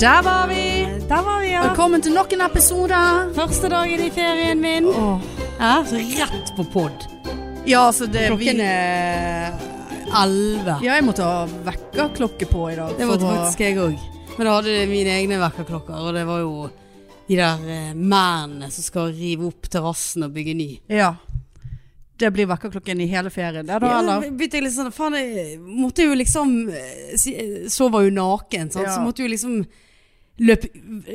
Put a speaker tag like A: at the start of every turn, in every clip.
A: Der var vi!
B: Der var vi, ja.
A: Velkommen til nok en episode.
B: Første dagen i ferien min.
A: Åh.
B: Ja, så rett på pod.
A: Ja, altså det vi,
B: Klokken
A: Ja,
B: er elleve.
A: jeg måtte ha vekkerklokke på i dag.
B: Det
A: for
B: måtte
A: å-
B: faktisk jeg òg. Men da hadde jeg mine egne vekkerklokker, og det var jo de der eh, mennene som skal rive opp terrassen og bygge ny.
A: Ja. Det blir vekkerklokken i hele ferien. Ja, da,
B: Ja,
A: eller?
B: da begynte jeg litt sånn Faen, jeg måtte jo liksom eh, si- eh, Sove jo naken, sant?
A: Ja.
B: så måtte jo liksom løpe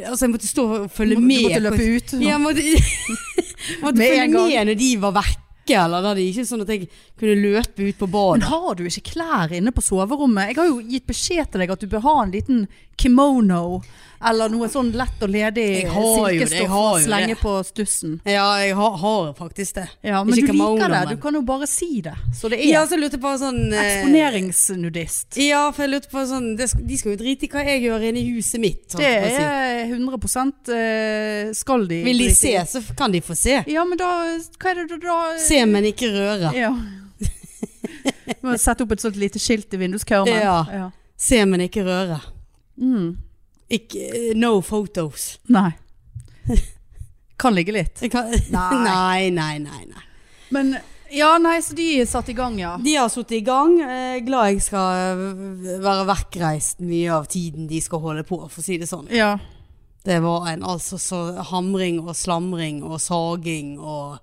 B: Altså, jeg måtte stå og følge
A: Du
B: med.
A: måtte- du måtte
B: på-
A: løpe ut.
B: Ja, jeg måtte, måtte
A: Med
B: følge
A: en gang.
B: med når de var vekke, eller da det ikke sånn at jeg kunne løpe ut på
A: Men
B: badet.
A: har du ikke klær inne på soverommet? Jeg har jo gitt beskjed til deg at du bør ha en liten kimono. Eller noe sånn lett og ledig
B: Jeg har jo det, jeg
A: silkestoff
B: har
A: å
B: jo
A: slenge
B: det.
A: på stussen.
B: Ja, jeg har, har faktisk det.
A: Ja, men
B: Ikke
A: du liker
B: kimono,
A: det.
B: men-
A: Du kan jo bare si det. Så det er
B: Ja, så lurte jeg på sånn eh,
A: eksponeringsnudist.
B: Ja, for jeg lurte på sånn det, sk- De skal jo drite i hva jeg gjør inne i huset mitt. holdt
A: Det
B: jeg på å si.
A: er 100 eh, skal de
B: Vil de
A: drite
B: se,
A: i.
B: så kan de få se.
A: Ja, men da Hva er det du da
B: Se, men ikke røre.
A: Ja. Må sette opp et sånt lite skilt i vinduskarmen.
B: Ja. Se, men ikke røre.
A: Mm.
B: Ikke, eh, no photos.
A: Nei. Kan ligge litt.
B: Jeg kan,
A: Nei.
B: nei, nei, nei, nei.
A: Men Ja, nei, så de er satt i gang, ja.
B: De har sittet i gang. Eh, glad jeg skal eh, være vekkreist mye av tiden de skal holde på, for å si det sånn.
A: Ja.
B: Det var en altså så hamring og slamring og saging og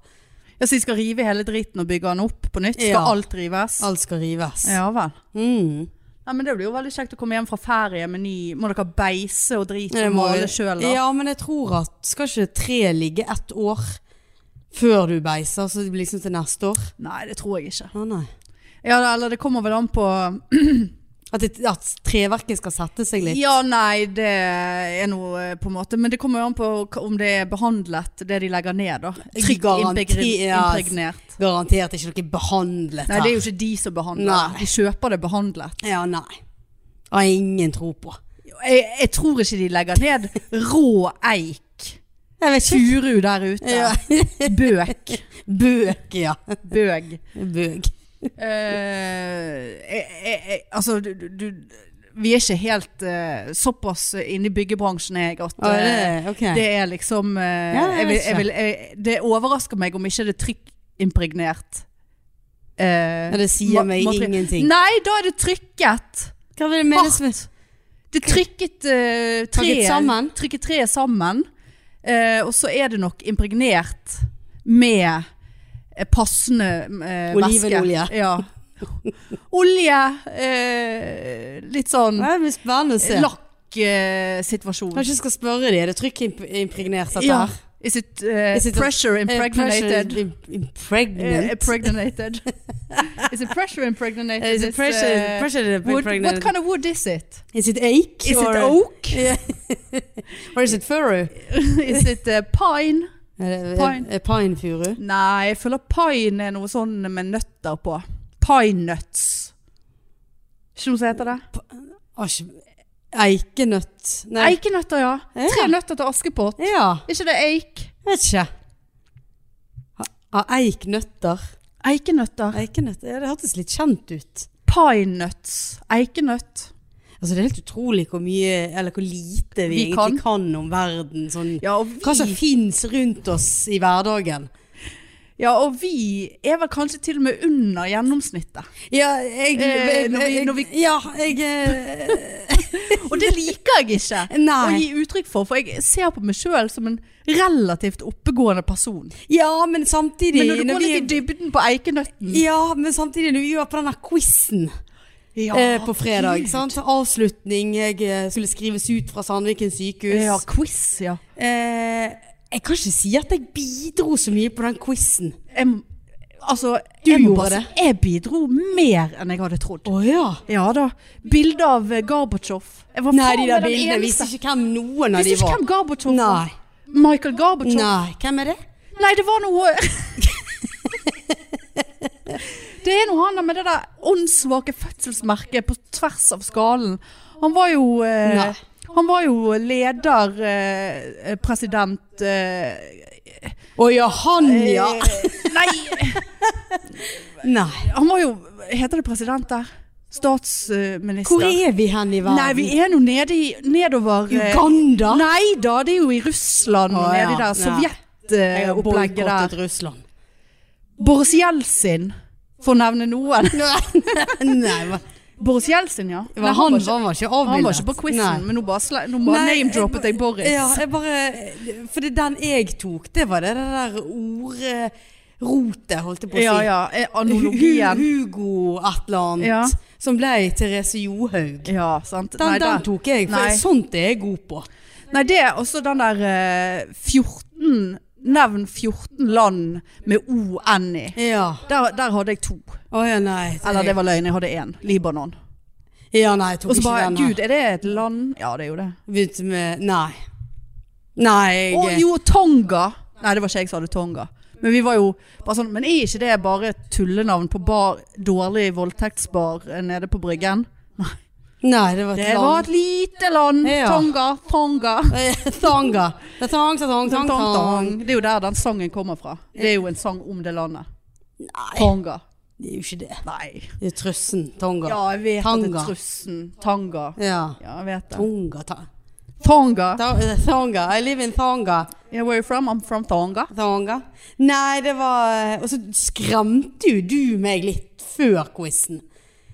A: ja så de skal rive hele driten og bygge den opp på nytt? Skal
B: Ja.
A: alt rives?
B: alt skal rives.
A: Ja vel.
B: Mm.
A: Nei, men det blir jo veldig kjekt å komme hjem fra ferie med ny Må dere beise og drite
B: Det
A: og
B: må
A: male
B: vi-
A: sjøl, da?
B: Ja, men jeg tror at skal ikke tre ligge ett år før du beiser, så det blir liksom til neste år?
A: Nei, det tror jeg ikke.
B: Å nei.
A: Ja, eller det kommer vel an på
B: At, det, at treverket skal sette seg litt?
A: Ja, nei, det er noe eh, på en måte Men det kommer jo an på k- om det er behandlet Det de legger ned da Trygt
B: Garanti-
A: impregri-
B: ja.
A: impregnert
B: Garantert ikke noe behandlet
A: Nei, det er jo ikke de som behandler
B: Nei.
A: det. De kjøper det behandlet
B: Ja, nei. Har jeg ingen tro på.
A: jeg, jeg tror ikke de legger ned Rå eik
B: Jeg vet ikke.
A: Furu der ute
B: Ja.
A: Bøk
B: Bøk, ja.
A: Bøg
B: Bøk.
A: Eh, jeg, jeg, jeg, Altså, du, du, du Vi er ikke helt eh, Såpass inne i byggebransjen er jeg At
B: Å, er
A: eh,
B: det, ok.
A: Det er liksom eh,
B: jeg
A: jeg vil,
B: vet
A: jeg vil, jeg, Det overrasker meg om ikke det er trykkimpregnert. eh,
B: Ja, det sier
A: ma-
B: meg
A: materi-
B: ingenting.
A: Nei, da er det trykket
B: Hva vil det menes med
A: hardt. Det er trykket eh, treet
B: sammen?
A: Trykket treet sammen. eh, og så er det nok impregnert med eh, passende eh,
B: Olivenolje.
A: væske. Ja. Olje. eh, litt sånn
B: Det blir spennende å se.
A: lakksituasjon.
B: Kanskje jeg skal spørre de, er det trykkimpregnert dette
A: Ja.
B: her?
A: Is it, eh,
B: Is it a-
A: pressure
B: Eh,
A: impregnated?
B: pressure im- Impregnant?
A: Eh, impregnated. is it pressure impregnated?
B: Is it
A: This,
B: pressure,
A: eh,
B: pressure
A: wood,
B: impregnated?
A: What kind of wood is it?
B: Is it ache?
A: Is
B: or,
A: it oak?
B: Or is it furrow?
A: is it eh, pine? Pine.
B: Pine. eh, Pine furu?
A: Nei, jeg føler pine er noe sånn med nøtter på. Pine nuts. Ikke noe som heter det?
B: Asj, Eikenøtt? Nei.
A: Eikenøtter, ja.
B: Ja.
A: Tre nøtter til Askepott.
B: Ja,
A: Er ikke det eik?
B: vet ikke. Ha- ha Eiknøtter.
A: Eikenøtter.
B: Eikenøtt, ja, det hørtes litt kjent ut.
A: Pine nuts. Eikenøtt.
B: Altså, det er helt utrolig hvor mye, eller hvor lite vi,
A: Vi kan.
B: egentlig kan. om verden. Sånn,
A: Ja, og
B: hva som
A: vi
B: fins rundt oss i hverdagen.
A: Ja, og vi er vel kanskje til og med under gjennomsnittet.
B: Ja, jeg,
A: Eh, når vi- når vi-
B: Ja, jeg eh,
A: Og det liker jeg ikke å
B: Nei.
A: gi uttrykk for, for jeg ser på meg sjøl som en relativt oppegående person.
B: Ja, men samtidig
A: Men når du går
B: vi-
A: litt i dybden på eikenøtten
B: Ja, men samtidig når vi var på denne quizen
A: Ja,
B: eh, på fredag, sant? avslutning, jeg eh, skulle skrives ut fra Sandviken sykehus.
A: Ja, quiz, ja.
B: Eh, jeg kan ikke si at jeg bidro så mye på den quizen.
A: Jeg, m- altså,
B: Du
A: jeg må
B: gjorde
A: bare si- Jeg bidro mer enn jeg hadde trodd.
B: Å ja.
A: Ja da. Bilde av eh, Gorbatsjov. Jeg var
B: Nei,
A: faen
B: de
A: meg
B: der
A: den
B: bildene
A: eneste.
B: visste ikke hvem noen av
A: Visste
B: de
A: ikke
B: var.
A: hvem Gorbatsjov var.
B: Nei.
A: Michael Gorbatsjov.
B: Nei, hvem er det?
A: Nei, det var noe Det er noe han der med det der åndssvake fødselsmerket på tvers av skallen. Han var jo eh,
B: Nei.
A: Han var jo leder, eh, president eh,
B: Å ja, han ja.
A: eh, Nei,
B: Nei.
A: han var jo Heter det president der? Statsminister.
B: Hvor er vi hen i verden?
A: Nei, vi er nå nede i Nedover eh,
B: Uganda?
A: Nei da, det er jo i Russland og
B: Å, ja,
A: nedi der.
B: ja. Jeg har
A: Sovjetopplegget
B: boikottet
A: eh, der.
B: Russland.
A: Boris Jeltsin, for å nevne noen.
B: Nei, hva-
A: Boris Jeltsin, ja.
B: hva-
A: Nei,
B: han,
A: var ikke,
B: var ikke avbildet.
A: han var ikke på quizen,
B: Nei.
A: men nå bare, sla- nå bare
B: Nei,
A: name-droppet jeg Boris.
B: Ja, jeg bare For det den jeg tok, det var det, det der ordrotet, holdt jeg på å si.
A: ja, ja. eh,
B: Hu-
A: Analogien.
B: Hugo et eller annet.
A: Ja.
B: Som ble Therese Johaug. Den,
A: Ja, sant. Nei,
B: den
A: der-
B: tok jeg, for
A: Nei.
B: sånt er jeg god på.
A: Nei, det er også den der eh, 14 Nevn 14 land med ON i.
B: Ja.
A: Der, der hadde jeg to.
B: Å ja, nei.
A: Eller det var løgn, jeg hadde én. Libanon.
B: Ja, nei, jeg tok
A: Og så
B: ikke
A: bare
B: den her.
A: Gud, er det et land? Ja, det er jo det.
B: Begynte med Nei. Nei, jeg
A: Å jo, Tonga! Nei, det var ikke jeg som hadde Tonga. Men vi var jo bare sånn Men er ikke det bare et tullenavn på bar, dårlig voldtektsbar eh, nede på Bryggen?
B: Nei, det var et
A: Det var et lite land!
B: Ja.
A: Tonga, Tonga.
B: land. Tanga. Det er tang, sa tang, tang,
A: Tong,
B: tang.
A: tong. Det er jo der den sangen kommer fra. Det er jo en sang om det landet.
B: Nei,
A: Tonga.
B: det er jo ikke det.
A: Nei.
B: Det er Trøssen. Tanga.
A: Ja, jeg vet at det
B: Tanga.
A: er trussen. Tanga.
B: ja.
A: Ja, jeg vet det.
B: Tonga. Ta
A: Tonga.
B: Ta- eh, Thonga. I live in Thonga.
A: Yeah, where are you from? I'm from Tonga.
B: Thonga. Nei, det var eh, Og så skremte jo du meg litt før quizen.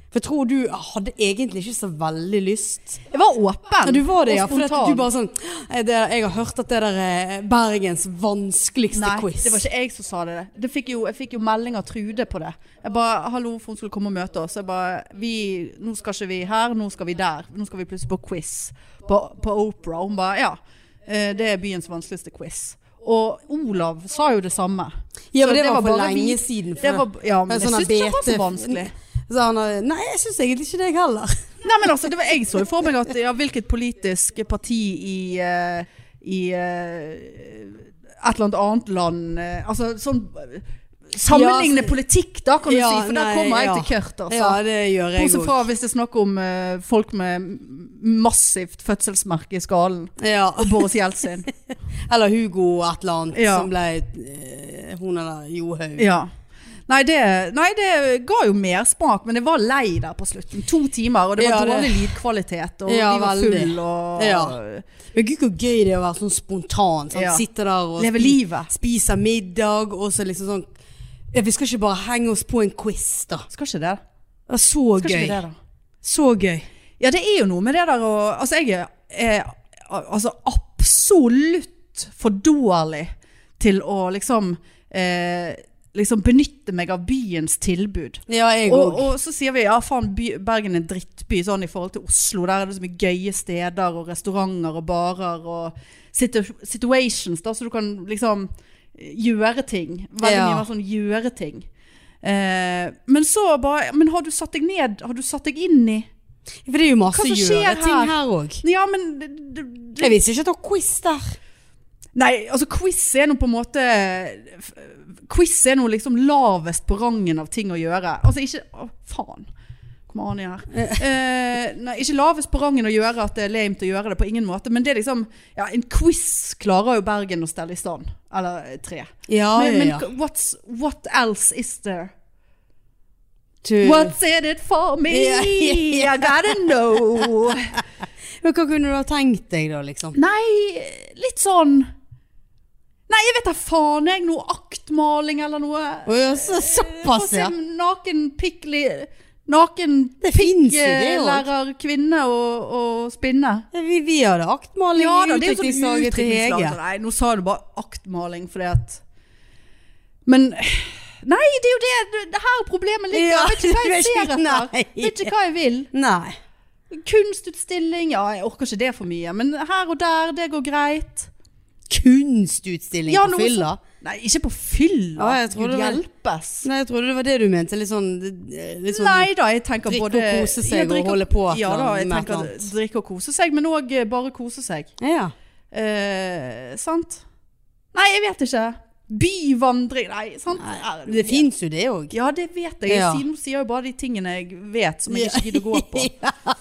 B: For jeg tror du hadde egentlig ikke så veldig lyst.
A: Jeg var åpen.
B: Ja, du var det,
A: og
B: ja. For at
A: spontan.
B: du bare sånn «Eh, det, Jeg har hørt at det der er Bergens vanskeligste
A: Nei,
B: quiz.
A: det var ikke jeg som sa det. det fikk jo, jeg fikk jo melding av Trude på det. Jeg bare 'Hallo, for hun skulle komme og møte oss.' Jeg bare vi, 'Nå skal ikke vi her, nå skal vi der.' Nå skal vi plutselig på quiz på, på Opera. Hun bare 'Ja, eh, det er byens vanskeligste quiz'. Og Olav sa jo det samme.
B: Ja,
A: Så
B: men det, var, for
A: bare vi-
B: lenge siden. for
A: Det var, ja, men
B: det er
A: jeg
B: sånn
A: syntes ikke det var så
B: bete-
A: vanskelig.
B: Så han har Nei, jeg syns egentlig ikke det, jeg heller.
A: Nei, men altså, det var jeg så jo for meg at ja, hvilket politisk parti i, eh, i eh, et eller annet annet land eh, Altså sånn eh, Sammenligne
B: Ja,
A: politikk, da, kan du
B: Ja,
A: si, for der
B: nei,
A: kommer jeg
B: ja.
A: til kørt, altså.
B: Ja, det gjør jeg
A: Bortsett
B: òg.
A: fra hvis det er snakk om eh, folk med m- massivt fødselsmerke i skallen.
B: Ja.
A: Og Boris Jeltsin.
B: Eller Hugo et eller annet
A: Ja.
B: som ble eh, hun eller Johaug.
A: ja. Nei det, nei, det ga jo mersmak, men jeg var lei der på slutten. To timer, og det
B: Ja,
A: var
B: det-
A: dårlig lydkvalitet, og
B: Ja,
A: vi var
B: veldig.
A: full og
B: Ja. Men gud hvor gøy det er å være sånn spontan. Sant?
A: Ja.
B: Sitter der og
A: Leve
B: spi-
A: livet.
B: spiser middag, og så liksom sånn ja, Vi skal ikke bare henge oss på en quiz, da.
A: Skal ikke det?
B: Det var så
A: Skal ikke
B: gøy.
A: vi det, da?
B: Så gøy.
A: Ja, det er jo noe med det der å Altså, jeg er, er altså, absolutt for dårlig til å liksom eh, Liksom benytte meg av byens tilbud.
B: Ja, jeg
A: Og,
B: òg.
A: og så sier vi ja, faen, by, Bergen er en drittby sånn i forhold til Oslo. Der er det så mye gøye steder og restauranter og barer og situ situations, da, så du kan liksom gjøre ting. Veldig
B: Ja.
A: mye mer sånn gjøre ting. Eh, men så bare Men har du satt deg ned? Har du satt deg inn i
B: For det er jo masse
A: Hva som skjer
B: gjøreting
A: her?
B: her òg.
A: Ja, men det, det, det,
B: Jeg visste ikke at det var quiz der.
A: Nei, altså quiz er nå på en måte f- Quiz er nå liksom lavest på rangen av ting å gjøre. Altså ikke Å, faen. Kommer Ani her. Eh, nei, ikke lavest på rangen å gjøre at det er lame til å gjøre det, på ingen måte. Men det er liksom Ja, en quiz klarer jo Bergen å stelle i stand. Eller eh, tre.
B: Ja,
A: Men, men
B: ja, ja.
A: k- what's, what else is there?
B: Du-
A: What's in it for me?
B: Ja, ja,
A: I gotta know.
B: Men hva kunne du ha tenkt deg da, liksom?
A: Nei, litt sånn Nei, jeg vet da faen jeg. Noe aktmaling eller noe.
B: Å ja, så,
A: Få
B: såpass,
A: se
B: ja.
A: naken pikli... Naken
B: Det fins jo det òg.
A: lærer kvinne å å spinne.
B: Vi, vi hadde aktmaling
A: Ja da,
B: i
A: det er jo sånn
B: utdrikningslaget til
A: utdrikningslag.
B: Hege.
A: Nei, nå sa du bare aktmaling fordi at Men Nei, det er jo det, det her problemet ligger.
B: Ja,
A: jeg vet ikke hva jeg
B: du vet
A: ser
B: ikke-
A: etter.
B: nei.
A: Vet ikke hva jeg vil.
B: Nei.
A: Kunstutstilling, ja, jeg orker ikke det for mye. Men her og der, det går greit.
B: Kunstutstilling
A: Ja,
B: på
A: noe
B: fylla?
A: Nei, ikke på fylla.
B: Ja, jeg tror
A: Gud
B: det var-
A: hjelpes.
B: Nei, jeg trodde det var det du mente. Litt sånn, eh, litt sånn
A: Nei da, jeg tenker
B: drikke og
A: både
B: kose seg og
A: drikke
B: holde på et
A: Ja
B: eller
A: da,
B: annet
A: jeg
B: med et
A: tenker
B: eller annet.
A: drikke og kose seg, men òg bare kose seg.
B: Ja.
A: Eh, sant? Nei, jeg vet ikke. Byvandring Nei, sant? Er
B: Det fins jo det òg.
A: Ja, det vet jeg.
B: Ja.
A: Jeg sier, nå sier jeg jo bare de tingene jeg vet som jeg ikke gidder å gå på.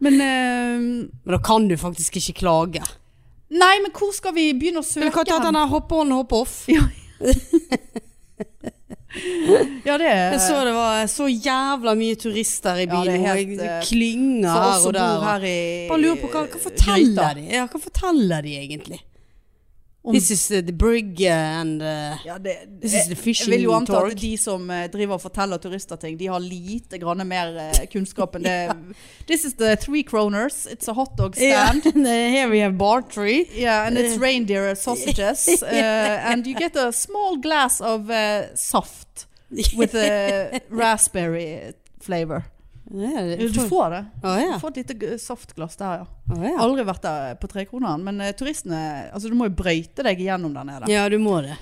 A: Men eh,
B: Men da kan du faktisk ikke klage.
A: Nei, men hvor skal vi begynne å
B: Men du
A: søke
B: kan ta den
A: hen?
B: der hoppe on, hoppe off.
A: Ja. Ja, det er
B: Jeg så det var så jævla mye turister i
A: Ja, det
B: byen,
A: er
B: og
A: helt,
B: jeg-
A: eh,
B: klynger
A: For oss
B: her
A: som
B: og der.
A: bor
B: og-
A: her i
B: Bare lurer på hva, hva forteller de? Ja, hva forteller de egentlig?
A: Om-
B: This is uh, the brig uh, and uh,
A: Ja, det,
B: This is the
A: jeg
B: fishing
A: vil jo anta
B: torg.
A: at de som eh, driver og forteller turister ting, de har lite grann mer eh, kunnskap enn det. This is the three kroners, it's a hotdog
B: Ja, Eh.
A: stand.
B: Here we have bar tree.
A: Yeah, and it's reindeer sausages. Uh, and you get a small glass of uh, saft with a raspberry flavor.
B: Ja, det-
A: Du får det.
B: Å ja.
A: Du får et lite g- saftglass der, ja.
B: Å, ja.
A: Aldri vært der på Trekroneren, men eh, turistene Altså, du må jo brøyte deg igjennom der nede.
B: ja, du må det.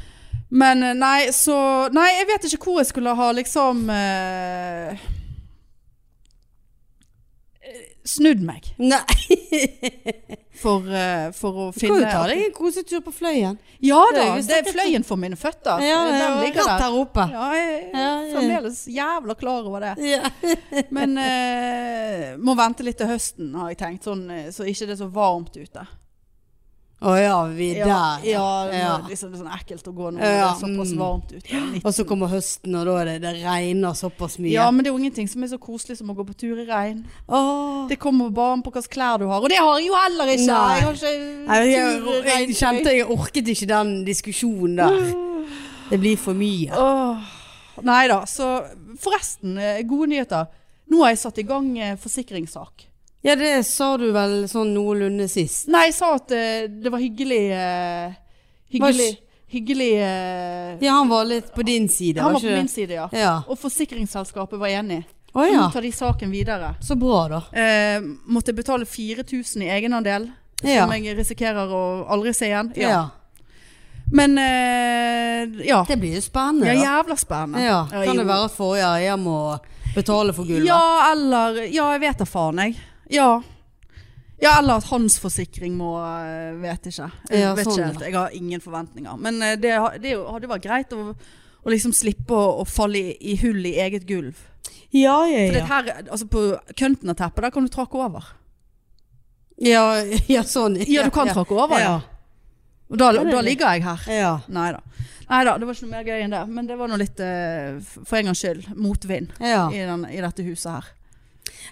A: Men eh, nei, så Nei, jeg vet ikke hvor jeg skulle ha liksom eh, eh, Snudd meg
B: Nei,
A: for, eh, for å
B: du kan
A: finne
B: jo ta deg en kosetur på Fløyen.
A: Ja da!
B: Det er jo
A: Det er fløyen for mine føtter.
B: Ja,
A: Den
B: det er
A: ligger
B: rett
A: der.
B: her oppe.
A: Ja, jeg
B: Ja,
A: er
B: ja.
A: fremdeles jævla klar over det.
B: Ja.
A: Men eh, må vente litt til høsten, har jeg tenkt. Sånn, eh, så ikke det er så varmt ute.
B: Å ja, vi er
A: Ja,
B: der.
A: ja, det
B: Ja.
A: er liksom sånn ekkelt å gå når det
B: Ja,
A: er såpass
B: mm.
A: varmt ute.
B: Og så kommer høsten, og da er det, det regner såpass mye.
A: Ja, men det er jo ingenting som er så koselig som å gå på tur i regn.
B: Åh.
A: Det kommer bare an på hva slags klær du har, og det har jeg jo heller ikke!
B: Nei.
A: Jeg har ikke
B: Nei, jeg,
A: tur i
B: jeg
A: regntøy.
B: kjente jeg orket ikke den diskusjonen der. Det blir for mye.
A: Åh. Nei da, så forresten, eh, gode nyheter. Nå har jeg satt i gang eh, forsikringssak.
B: Ja, det sa du vel sånn noenlunde sist.
A: Nei, jeg sa at eh, det var hyggelig eh, Hyggelig, hyggelig eh,
B: Ja, han var litt på din side,
A: Han var
B: ikke
A: på
B: det?
A: min side, ja.
B: Ja.
A: Og forsikringsselskapet var enig.
B: Å
A: Så
B: ja.
A: nå tar de saken videre.
B: Så bra, da.
A: Eh, måtte jeg betale 4000 i egenandel,
B: Ja.
A: som jeg risikerer å aldri se igjen.
B: Ja.
A: Men eh, ja.
B: Det blir jo
A: ja.
B: spennende. da.
A: Jævla spennende.
B: Ja. Kan
A: jo.
B: det være at forrige eier må betale for gulvet?
A: Ja, eller Ja, jeg vet da faen, jeg. Ja. Ja, eller at hans forsikring må eh, Vet ikke. Jeg
B: Ja,
A: vet
B: sånn,
A: ikke helt. Jeg har ingen forventninger. Men eh, det, ha- det er jo- hadde vært greit å, å liksom slippe å, å falle i, i hull i eget gulv.
B: ja, ja.
A: For det her, altså på kønten av teppet, der kan du trakke over.
B: Ja, ja, sånn.
A: Ja, du kan trakke over,
B: Ja.
A: ja. Og da,
B: Ja, det er
A: da
B: det.
A: ligger jeg her.
B: ja.
A: Nei da. det var ikke noe mer gøy enn det. Men det var nå litt, eh, for en gangs skyld, motvind
B: ja.
A: i, den, i dette huset her.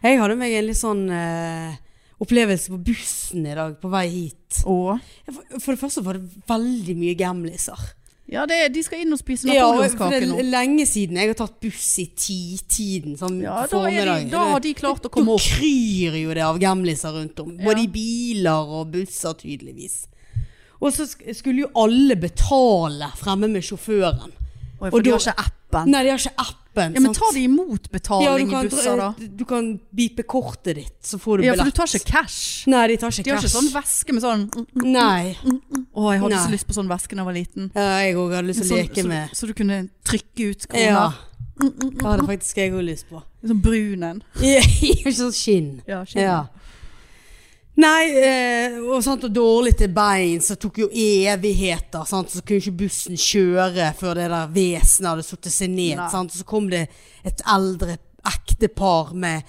B: Jeg hadde meg en litt sånn eh, opplevelse på bussen i dag på vei hit.
A: Og
B: For, for det første var det veldig mye gamliser.
A: Ja, det, de skal inn og spise
B: Ja, og for det
A: napoleonskake nå.
B: er lenge siden jeg har tatt buss i titiden, sånn
A: Ja, da, er de,
B: formiddag.
A: da har de klart å
B: Da
A: komme opp.
B: kryr jo det av gamliser rundt om.
A: Ja.
B: Både i biler og busser, tydeligvis. Og så sk- skulle jo alle betale fremme med sjåføren.
A: Oi,
B: og
A: for de
B: da-
A: har ikke appen.
B: Nei, de har ikke appen.
A: Ja, men
B: sant?
A: tar de
B: Ja,
A: imot
B: du
A: betaling
B: kan
A: i busser da?
B: dra- eh, Du kan bipe kortet ditt, så får du
A: Ja, for
B: billett.
A: du tar ikke cash.
B: Nei, de tar ikke
A: De har ikke
B: cash.
A: sånn veske med sånn Å,
B: Nei.
A: jeg hadde
B: Nei.
A: så lyst på sånn veske da jeg var liten.
B: Ja, jeg òg hadde lyst til å
A: Sånn-
B: leke
A: så,
B: med.
A: så du kunne trykke ut
B: Ja.
A: kroner.
B: Det hadde faktisk jeg òg lyst på.
A: Sånn brun en.
B: Ja, Ikke sånn skinn.
A: Ja, skinn.
B: Ja. Nei, eh, og, sant, og dårlig til beins, så tok jo evigheter. Sant, så kunne ikke bussen kjøre før det der vesenet hadde satt seg ned.
A: Nei.
B: Sant, så kom det et eldre ektepar med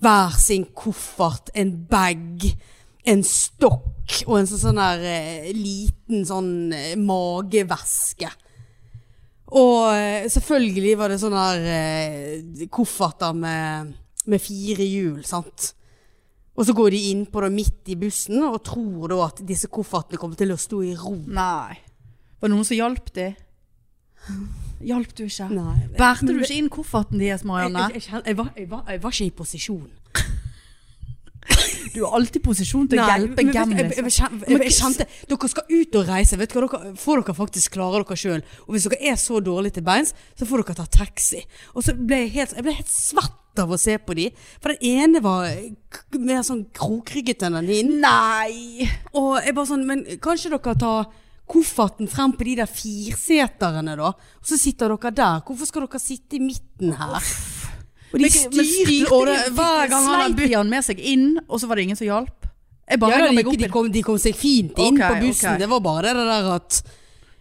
B: hver sin koffert, en bag, en stokk og en sånn, sånn der eh, liten sånn eh, mageveske. Og eh, selvfølgelig var det sånne her eh, kofferter med, med fire hjul, sant? Og så går de inn på det midt i bussen og tror da at disse koffertene kommer til å stå i ro.
A: Nei. Var det noen som hjalp de? Hjalp du ikke?
B: Nei.
A: Bærte du ikke inn kofferten deres,
B: Jeg,
A: Marianne?
B: jeg, jeg, kjenner- jeg, var, jeg, var, jeg var ikke i posisjon.
A: Du er alltid i posisjon til å
B: Nei,
A: hjelpe
B: men vet du,
A: gamle.
B: jeg, jeg, jeg, kjen- jeg, jeg kjente Dere skal ut og reise. Vet du hva, dere får dere faktisk klare dere sjøl. Og hvis dere er så dårlige til beins, så får dere ta taxi. Og så ble jeg helt, jeg ble helt svett av å se på de. For den ene var k- mer sånn krokrygget enn den inn.
A: Nei!
B: Og jeg bare sånn Men kanskje dere tar kofferten frem på de der firseterne, da? Og så sitter dere der. Hvorfor skal dere sitte i midten her? Og de
A: Men- men
B: styrte og det,
A: de-
B: hver gang han hadde
A: Sleit de han med seg inn, og så var det ingen som hjalp? Jeg bare
B: ja,
A: henger
B: da, de,
A: meg opp i
B: de,
A: det.
B: kom, de kom seg fint inn
A: Ok,
B: på bussen.
A: ok.
B: Det var bare det der at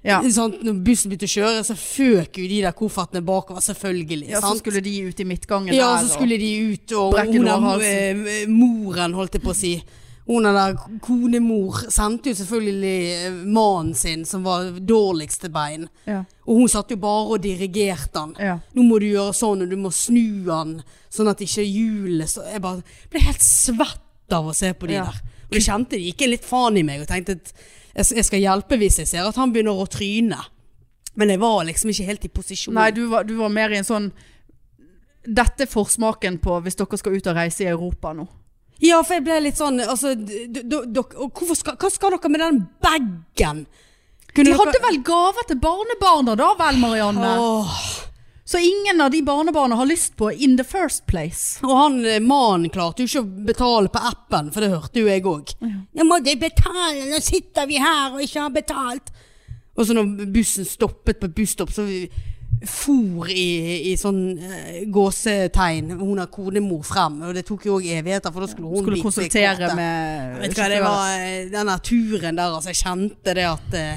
A: Ja.
B: sant, Når bussen begynte å kjøre, så føk jo de der koffertene bakover, selvfølgelig.
A: ja, så
B: sant?
A: skulle de ut i midtgangen
B: ja,
A: der.
B: så skulle de ut, og
A: brekke
B: hun er-
A: lårhalsen.
B: eh, moren, holdt jeg på å si. Hun er der konemor sendte jo selvfølgelig eh, mannen sin, som var dårligst til bein.
A: Ja.
B: Og hun satt jo bare og dirigerte han.
A: Ja.
B: Nå må du gjøre sånn, og du må snu han, sånn at ikke hjulet så Jeg bare ble helt svett av å se på de
A: Ja.
B: der. Og jeg kjente det gikk en litt faen i meg, og tenkte at jeg, jeg skal hjelpe hvis jeg ser at han begynner å tryne. Men jeg var liksom ikke helt i posisjon.
A: Nei, du var, du var mer i en sånn Dette er forsmaken på hvis dere skal ut og reise i Europa nå.
B: Ja, for jeg ble litt sånn altså, d- d- d- dok- og hvorfor skal, Hva skal dere med den bagen?
A: De hadde vel gaver til barnebarna da, vel, Marianne?
B: Åh,
A: Så ingen av de barnebarna har lyst på in the first place.
B: Og han eh, mannen klarte jo ikke å betale på appen, for det hørte jo jeg òg. Jeg må ikke betale, nå sitter vi her og ikke har betalt. Og så når bussen stoppet på et busstopp, så vi for i, i sånn eh, gåsetegn hun har konemor frem. Og det tok jo òg evigheter, for da skulle hun
A: Skulle
B: bite i kortet.
A: konsultere med
B: Vet du hva, det var eh, den der turen der, altså. Jeg kjente det at eh,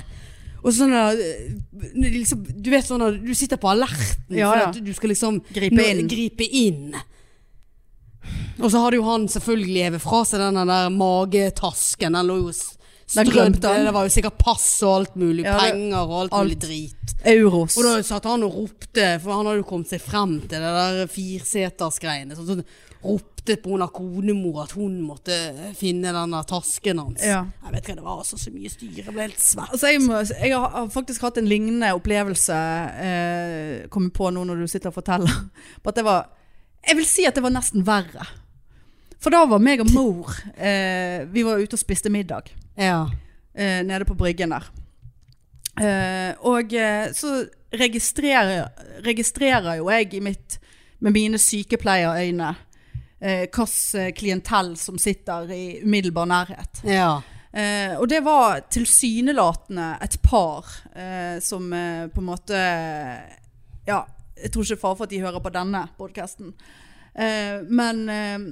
B: Og sånn der eh, når de liksom, Du vet sånn at du sitter på alerten
A: Ja,
B: for
A: ja.
B: at du skal liksom
A: Gripe
B: nå-
A: inn.
B: gripe inn. Og så hadde jo han selvfølgelig hevet fra seg den der magetasken. Den lå jo s-
A: Den
B: strødd.
A: glemte han.
B: Det var jo sikkert pass og alt mulig.
A: Ja, det-
B: penger og alt,
A: alt.
B: mulig drit.
A: euros.
B: Og da satt han og ropte, for han hadde jo kommet seg frem til det der firsetersgreiene. Så sånn, ropte på hun av konemor at hun måtte finne den der tasken hans.
A: Ja.
B: Jeg vet ikke, det var altså så mye styr. Jeg ble helt svett.
A: Altså jeg, må, jeg har- har faktisk hatt en lignende opplevelse eh, Kommer på nå når du sitter og forteller På at det var Jeg vil si at det var nesten verre For da var meg og mor eh, Vi var ute og spiste middag
B: Ja.
A: eh, Nede på bryggen der eh, Og eh, så registrerer, registrerer jo jeg i mitt Med mine sykepleierøyne eh, Hvilken klientell som sitter i umiddelbar nærhet
B: Ja.
A: Eh, og det var tilsynelatende et par eh, som eh, på en måte Ja, jeg tror ikke far for at de hører på denne podkasten. Eh, men eh,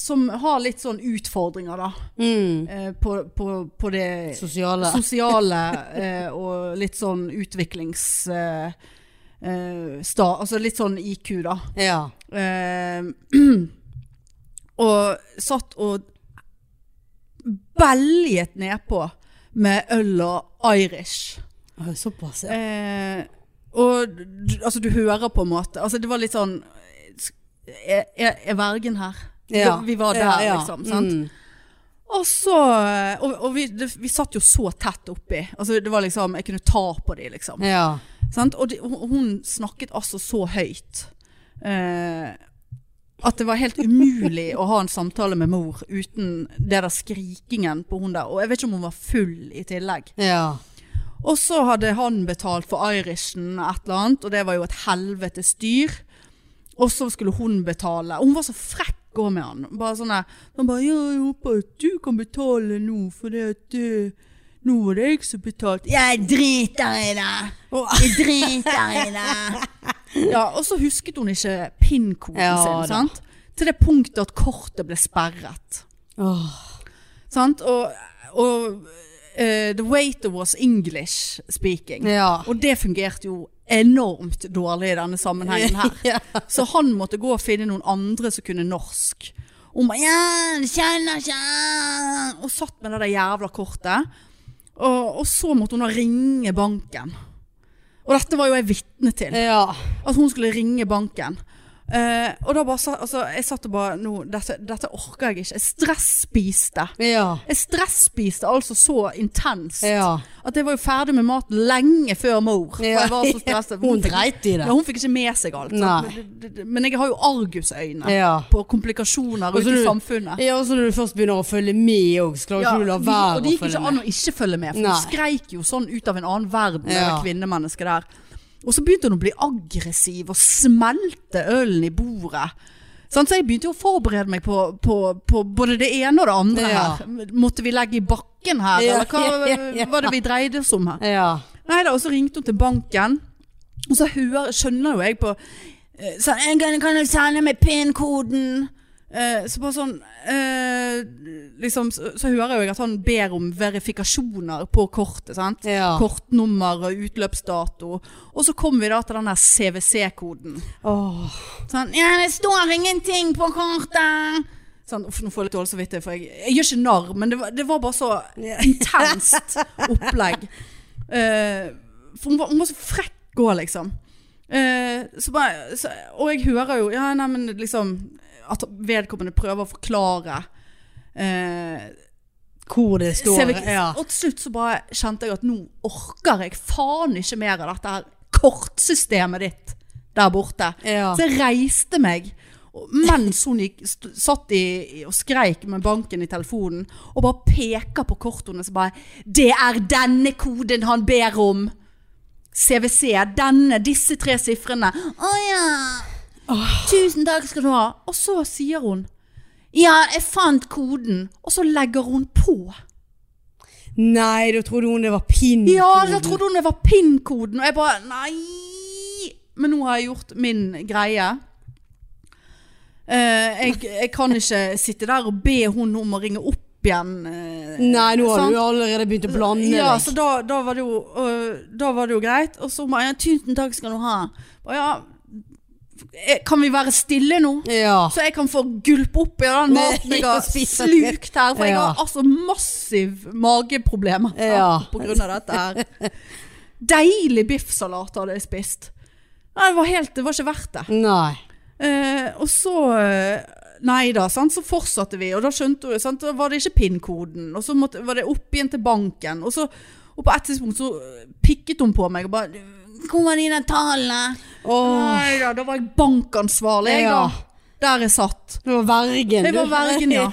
A: som har litt sånn utfordringer, da.
B: Mm.
A: Eh, på, på, på det
B: Sosiale.
A: sosiale eh, og litt sånn utviklings... Eh, eh, sta, altså litt sånn IQ, da.
B: Ja.
A: Eh, og satt og beljet nedpå med øl og Irish.
B: Å, Såpass, ja.
A: Eh, og du, altså, du hører på en måte altså, Det var litt sånn Er, er er vergen her?
B: ja.
A: Vi var der,
B: Ja, ja.
A: liksom. Sant?
B: Mm.
A: Og så Og, og vi, det, vi satt jo så tett oppi. Altså, det var liksom Jeg kunne ta på de, liksom.
B: Ja.
A: Sant? Og de, hun hun snakket altså så høyt eh, at det var helt umulig å ha en samtale med mor uten det der skrikingen på hun der. Og jeg vet ikke om hun var full i tillegg.
B: Ja.
A: Og så hadde han betalt for Irishen et eller annet, og det var jo et helvetes dyr. Og så skulle hun betale. Og hun var så frekk òg med han. Bare sånn der Han bare 'Ja, jeg håper at du kan betale nå, for det at eh, Nå var det jeg som betalte.' 'Jeg driter i det.'
B: Og,
A: Jeg driter i det. Ja, og så husket hun ikke pin-koden
B: Ja, da.
A: sin, sant? Til det punktet at kortet ble sperret.
B: Åh.
A: Sant? Og, og eh, the waiter was English speaking.
B: ja.
A: Og det fungerte jo enormt dårlig i denne sammenhengen her.
B: Ja.
A: Så han måtte gå og finne noen andre som kunne norsk. Og hun bare, ja, det kjenner ikke jeg». Og satt med det der jævla kortet. Og, og så måtte hun da ringe banken. Og dette var jo jeg vitne til.
B: Ja.
A: At hun skulle ringe banken. Eh, og da bare sa, altså, jeg satt og bare nå, dette, dette orker jeg ikke. Jeg stresspiste.
B: Ja.
A: Jeg stresspiste altså så intenst
B: Ja.
A: at jeg var jo ferdig med maten lenge før mor. For
B: Ja.
A: jeg var så stresset.
B: Hun
A: fikk-
B: dreit i det.
A: Ja, hun fikk ikke med seg alt. sant?
B: Nei.
A: Men, det- det- men jeg har jo argusøyne
B: Ja.
A: på komplikasjoner
B: Og så
A: ute i
B: du-
A: samfunnet.
B: Ja, og så når du først begynner å følge med òg, så klarer
A: Ja,
B: ikke du å la
A: og
B: være
A: det
B: å
A: gikk
B: følge
A: ikke
B: med.
A: an å ikke følge med, for
B: Nei.
A: hun skreik jo sånn ut av en annen verden,
B: Ja.
A: det kvinnemennesket der. Og så begynte hun å bli aggressiv og smelte ølen i bordet. Sant? Så jeg begynte jo å forberede meg på, på, på både det ene og det andre
B: Ja.
A: her. Måtte vi legge i bakken her,
B: Ja,
A: eller hva
B: ja, ja.
A: var det vi dreide oss om her?
B: Ja.
A: Nei da, og så ringte hun til banken. Og så hører, skjønner jo jeg på eh, så, «Jeg kan, kan du sende meg PIN-koden? Eh, så bare sånn eh, liksom, så, så hører jeg jo at han ber om verifikasjoner på kortet. sant?
B: ja.
A: Kortnummer og utløpsdato. Og så kom vi da til den der CWC-koden.
B: Åh.
A: Sånn, ja, det står ingenting på kortet. Sånn, uff, nå får jeg litt dårlig samvittighet, for jeg, jeg gjør ikke narr, men det var, det var bare så intenst opplegg. Eh, for hun var, hun var så frekk òg, liksom. Eh, så bare, så, og jeg hører jo ja, nei, men liksom, at vedkommende prøver å forklare. Eh,
B: Hvor det står.
A: ser vi,
B: ja.
A: Og til slutt så bare kjente jeg at nå orker jeg faen ikke mer av dette her kortsystemet ditt der borte.
B: Ja.
A: Så jeg reiste meg og- mens hun gikk, st satt i, i- og skreik med banken i telefonen, og bare peker på kortene og bare 'Det er denne koden han ber om!' CVC, denne, disse tre sifrene. Å ja. Tusen takk skal du ha. Og så sier hun 'Ja, jeg fant koden', og så legger hun på.
B: Nei, da trodde hun det var pin.
A: Ja, da trodde hun det var PIN-koden, og jeg bare Nei! Men nå har jeg gjort min greie. Eh, jeg, jeg kan ikke sitte der og be hun om å ringe opp igjen. eh,
B: Nei, nå har
A: sant?
B: du allerede begynt å blande
A: ja,
B: deg.
A: så da, da, var det jo, øh, da var det jo greit. Og så bare ja, 'Tusen takk skal du ha'. Og ja, eh, kan vi være stille nå?
B: Ja.
A: Så jeg kan få gulpe opp i den
B: Nei,
A: maten jeg
B: og
A: har
B: spise
A: slukt her. For jeg
B: Ja.
A: har altså massiv mageproblemer
B: Ja.
A: på grunn av dette her. Deilig biffsalat hadde jeg spist. Nei, det var, helt, det var ikke verdt det.
B: Nei.
A: Eh, og så eh, Nei da, sant? så fortsatte vi. Og da skjønte hun sant? Da var det ikke PIN-koden. Og så måtte, var det opp igjen til banken. Og, så, og på et tidspunkt så eh, pikket hun på meg og bare 'Hvor var de der tallene?'
B: Åh,
A: Nei da, da var jeg bankansvarlig, jeg,
B: Ja.
A: da. Der jeg satt.
B: det var vergen.
A: Det var
B: du.
A: vergen, ja.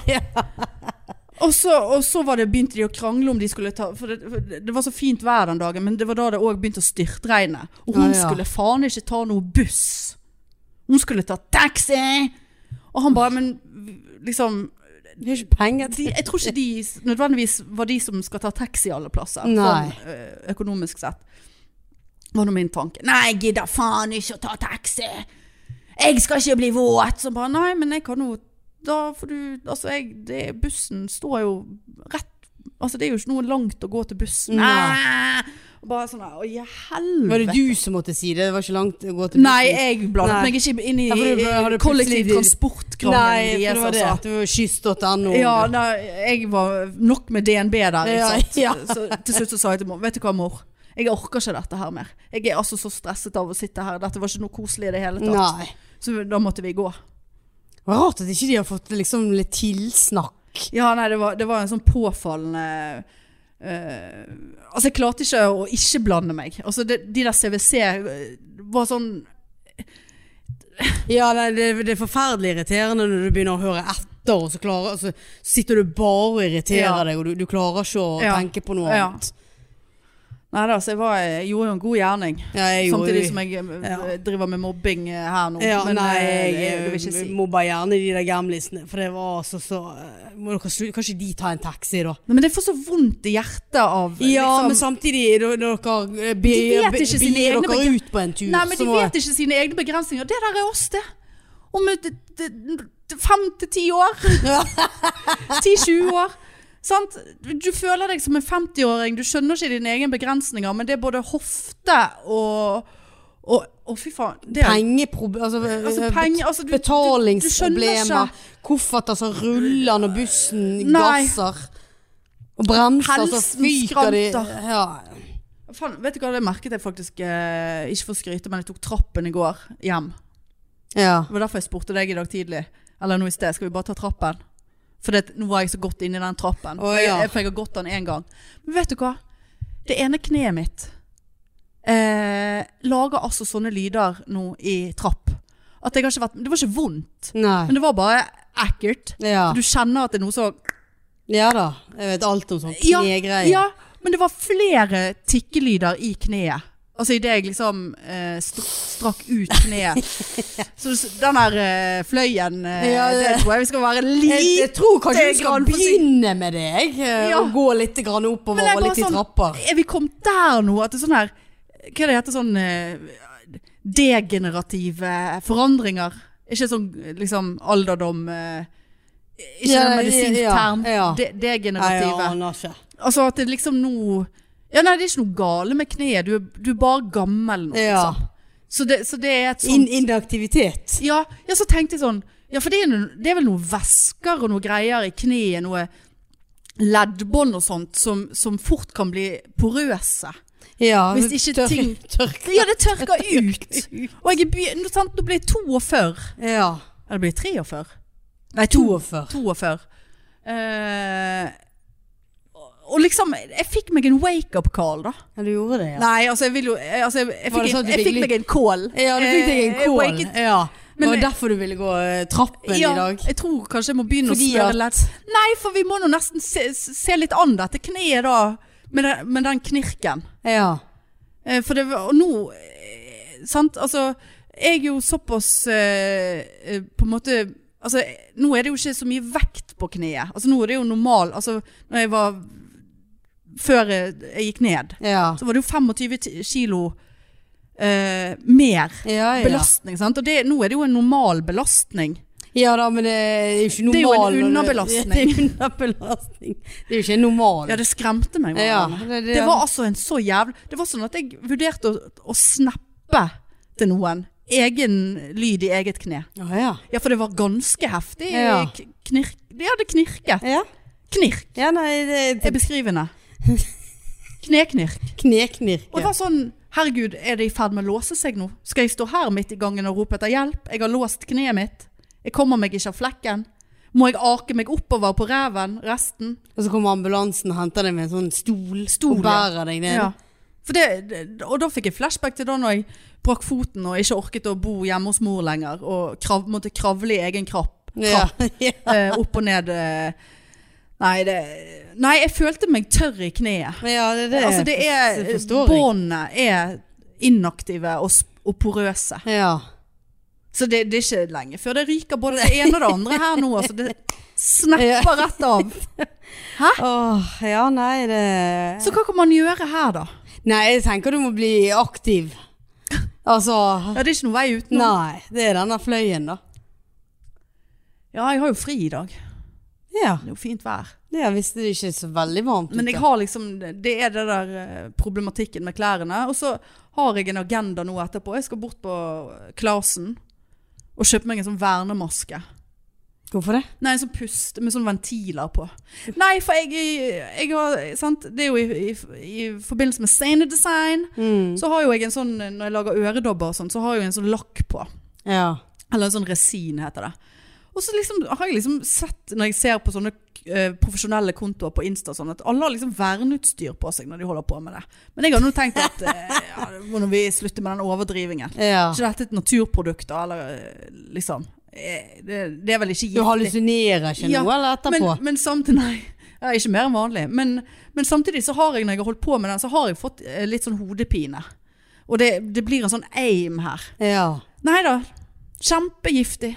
A: Og så, og så var det, begynte de å krangle om de skulle ta For det, for det det var så fint vær den dagen, men det var da det òg begynte å styrtregne. Og hun
B: Ja, ja.
A: skulle faen ikke ta noe buss. Hun skulle ta taxi! Og han bare Men liksom
B: Det er ikke penger
A: de,
B: til.
A: Jeg tror ikke de s- nødvendigvis var de som skal ta taxi alle plasser,
B: Nei.
A: sånn ø, økonomisk sett. Var nå min tanke. Nei, jeg gidder faen ikke å ta taxi! Jeg skal ikke bli våt! Så bare nei, men jeg kan jo Da får du Altså, jeg det, Bussen står jo rett Altså, det er jo ikke noe langt å gå til bussen.
B: Nei.
A: Og Bare sånn der, Å, i
B: Var det
A: helvete!
B: du som måtte si det? Det var ikke langt å gå til
A: Nei, jeg blandet
B: Nei.
A: meg ikke inn i
B: Ja, for du hadde plutselig-
A: kollektiv
B: Nei, for
A: transport-krangelen
B: det var
A: altså.
B: det. Det var kyss.no.
A: Ja, nei, jeg var nok med DNB der. Ikke
B: Ja,
A: sant?
B: ja.
A: Så til slutt så sa jeg til mor Vet du hva, mor? Jeg orker ikke dette her mer. Jeg er altså så stresset av å sitte her. Dette var ikke noe koselig i det hele tatt.
B: Nei.
A: Så da måtte vi gå.
B: Det var rart at ikke de har fått liksom litt tilsnakk.
A: Ja, nei, det var, det var en sånn påfallende eh, Altså, jeg klarte ikke å ikke blande meg. Altså, det, de der CWC var sånn
B: Ja, nei, det, det er forferdelig irriterende når du begynner å høre etter, og så, klarer, så sitter du bare og irriterer
A: Ja.
B: deg, og du, du klarer ikke å
A: Ja.
B: tenke på noe
A: Ja.
B: annet.
A: Nei da, så jeg, var, jeg gjorde jo en god gjerning.
B: Ja, jeg gjorde
A: Samtidig
B: det.
A: som jeg eh,
B: Ja.
A: driver med mobbing eh, her nå.
B: ja, Nei,
A: eh,
B: jeg,
A: det vil ikke si.
B: må bare gjerne i de der gamlisene, for det var altså så eh, må dere, slu- Kan ikke de ta en taxi, da?
A: Nei, men jeg får så vondt i hjertet av
B: Ja,
A: liksom-
B: men samtidig, når dere eh, be,
A: De vet
B: be-
A: ikke sine
B: begir
A: egne
B: dere
A: begre-
B: ut på en tur,
A: Nei, men de
B: så må
A: vet ikke sine egne begrensninger. Det der er oss, det. Om et, et, et, fem til ti år. Ti-tjue år. Sant? Du føler deg som en 50-åring. Du skjønner ikke dine egne begrensninger, men det er både hofte og Og, og fy faen. Det er,
B: Pengeproblemer altså,
A: Altså,
B: eh,
A: penger- altså, du- du- du skjønner
B: Betalingsproblemer.
A: ikke.
B: Kofferter som ruller når bussen
A: Nei.
B: gasser. Og bremser, så
A: Helsen
B: fyker de.
A: skranter.
B: Ja.
A: faen, vet du hva, det merket jeg faktisk eh, ikke for å skryte, men jeg tok trappen i går hjem.
B: ja.
A: Det var derfor jeg spurte deg i dag tidlig. Eller nå i sted. Skal vi bare ta trappen? For det, nå var jeg så godt inni den trappen.
B: Å,
A: jeg-
B: ja.
A: jeg, for jeg har gått den én gang. Men vet du hva? Det ene kneet mitt eh, lager altså sånne lyder nå i trapp. At jeg har ikke vært Det var ikke vondt, men
B: Nei.
A: det var bare ekkelt.
B: Ja.
A: Du kjenner at det er noe som
B: ja da. Jeg vet alt om sånne
A: Ja,
B: knegreier.
A: ja, men det var flere tikkelyder i kneet. Altså idet jeg liksom eh, str strakk ut kneet. Så s- den der eh, fløyen eh,
B: Ja,
A: det.
B: det-
A: tror jeg vi skal være
B: Jeg, jeg
A: litt
B: tror kanskje
A: Lite
B: du skal
A: grann forsi-
B: begynne med det. jeg, eh,
A: Ja.
B: Og gå litt grann oppover
A: Men jeg
B: og
A: bare
B: litt i
A: sånn-
B: trapper.
A: Er vi kommet der nå? At det er sånn her Hva er det heter sånn eh, Degenerative forandringer. Ikke sånn eh, liksom alderdom eh, Ikke
B: Ja,
A: en medisinsk
B: ja,
A: term.
B: ja.
A: De
B: Nei, jeg
A: degenerative.
B: aner ikke.
A: Altså at det liksom nå Ja, nei, det er ikke noe gale med kneet. Du, er- du er bare gammel nå,
B: Ja.
A: liksom. Så det, så det er et
B: In
A: sånt
B: inaktivitet.
A: ja, ja, så tenkte jeg sånn Ja, for det er, noe, det er vel noen vesker og noe greier i kneet, noe leddbånd og sånt, som, som fort kan bli porøse.
B: Ja,
A: Hvis ikke
B: tørk-
A: ting-
B: tørker.
A: Ja, det tørker ut. Og jeg er by... Nå, sant, nå ble jeg 42.
B: Ja.
A: Eller ble jeg 43?
B: Nei, 42.
A: 42. Eh, og liksom, jeg fikk meg en wake-up-call, da.
B: Ja, du gjorde det, ja.
A: Nei, altså, jeg vil jo jeg- altså, jeg, jeg,
B: Var
A: fikk,
B: det sånn at
A: en,
B: du
A: jeg
B: fikk
A: fikk
B: litt-
A: meg en call.
B: Ja, du fikk deg en
A: Eh, jeg
B: kål.
A: waket-
B: Ja. Det
A: Men-
B: var derfor du ville gå eh, trappen i
A: Ja,
B: dag.
A: jeg tror kanskje jeg må begynne
B: Fordi
A: å smøre
B: at-
A: lett. Nei, for vi må nå nesten se, se litt an dette kneet, da. Med, den- med den knirken.
B: Ja.
A: Eh, For det var Og nå eh, Sant, altså Jeg er jo såpass eh, eh, På en måte Altså, nå er det jo ikke så mye vekt på kneet. Altså, nå er det jo normal Altså, når jeg var Før jeg, jeg gikk ned,
B: Ja.
A: så var det jo 25 ti- kilo eh, mer
B: Ja, ja.
A: belastning, sant. Og det, nå er det jo en normal belastning.
B: ja da, men det er jo ikke
A: Det er jo en
B: normal når du-
A: underbelastning.
B: Det er underbelastning. Det er jo ikke normal.
A: Ja, det skremte meg. var
B: Ja,
A: det.
B: det- det-
A: det, var altså en så jævlig Det var sånn at jeg vurderte å, å snappe til noen. Egen lyd i eget kne.
B: Å, ja.
A: Ja, for det var ganske heftig.
B: Ja.
A: K- Knirk, ja, det knirket.
B: ja.
A: Knirk
B: Ja, nei, det
A: er
B: er
A: beskrivende. Kneknirk. Og det
B: kneknirke.
A: var sånn Herregud, er det i ferd med å låse seg nå? Skal jeg stå her midt i gangen og rope etter hjelp? Jeg har låst kneet mitt. Jeg kommer meg ikke av flekken. Må jeg ake meg oppover på reven resten?
B: Og så kommer ambulansen og henter deg med en sånn stol,
A: Stol,
B: og bærer deg ned.
A: Ja. For det, det- og da fikk jeg flashback til da når jeg brakk foten og ikke orket å bo hjemme hos mor lenger, og krav, måtte kravle i egen krapp,
B: Ja.
A: krapp eh, opp og ned. Eh, nei, det, nei, jeg følte meg tørr i kneet.
B: ja, det, det,
A: altså, det er,
B: det forstår jeg.
A: båndene er inaktive og, sp- og porøse.
B: Ja.
A: Så det, det er ikke lenge før det ryker både det ene og det andre her nå. Altså, det snapper rett av.
B: Åh, ja, nei, det
A: Så hva kan man gjøre her da?
B: Nei, jeg tenker du må bli aktiv. Altså
A: Ja, det er ikke noen vei utenom.
B: Nei, det er denne fløyen, da.
A: Ja, jeg har jo fri i dag.
B: Ja.
A: Det er jo fint vær.
B: Det er visst det er ikke så veldig varmt.
A: Men
B: ute.
A: jeg har liksom Det er det der eh, problematikken med klærne. Og så har jeg en agenda nå etterpå. Jeg skal bort på Clasen og kjøpe meg en sånn vernemaske.
B: Hvorfor det?
A: Nei, en sånn pust med sånn ventiler på. Nei, for jeg, jeg har Sant, det er jo i, i, i forbindelse med scenedesign.
B: Mm.
A: Så har jo jeg en sånn Når jeg lager øredobber og sånn, så har jeg jo en sånn lakk på.
B: Ja.
A: Eller en sånn resin heter det. Og så liksom, har jeg liksom sett, når jeg ser på sånne eh, profesjonelle kontoer på Insta, og sånn, at alle har liksom verneutstyr på seg når de holder på med det. Men jeg har nå tenkt at eh, ja, må nå vi slutte med den overdrivingen.
B: ja.
A: Er ikke dette et naturprodukt, da? Eller eh, liksom eh, Det, det er vel ikke
B: Du
A: giftig.
B: hallusinerer ikke
A: Ja,
B: noe eller
A: Men,
B: etterpå?
A: men samtidig, nei, ja, ikke mer enn vanlig. Men, men samtidig så har jeg, når jeg har holdt på med den, så har jeg fått eh, litt sånn hodepine. Og det, det blir en sånn aim her.
B: ja.
A: Nei da, kjempegiftig.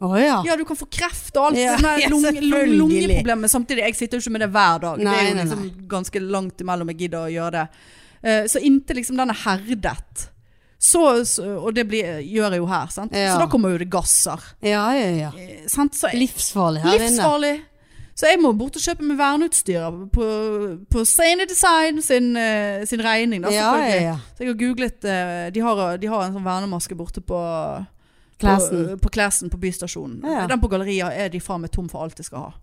B: Å ja.
A: Ja, du kan få kreft og alt.
B: Ja,
A: Sånne
B: ja,
A: lung, lung,
B: selvfølgelig.
A: lungeproblemer. Samtidig, jeg sitter jo ikke med det hver dag. det
B: Nei,
A: er jo
B: nei,
A: liksom ganske langt imellom jeg gidder å gjøre det. Eh, så inntil liksom den er herdet, så, så, og det blir, gjør jeg jo her, sant?
B: Ja.
A: så da kommer jo det gasser.
B: Ja, ja, ja.
A: eh, Sant? Så jeg,
B: Livsfarlig her inne.
A: livsfarlig. Så jeg må bort og kjøpe meg verneutstyr på, på Sane Design sin, eh, sin regning. Da,
B: Ja, ja,
A: selvfølgelig.
B: ja.
A: Så jeg har googlet eh, de, har, de har en sånn vernemaske borte på
B: Clasen.
A: På, på Clasen på bystasjonen.
B: Ja.
A: Den på galleriet er de faen meg tom for alt de skal ha.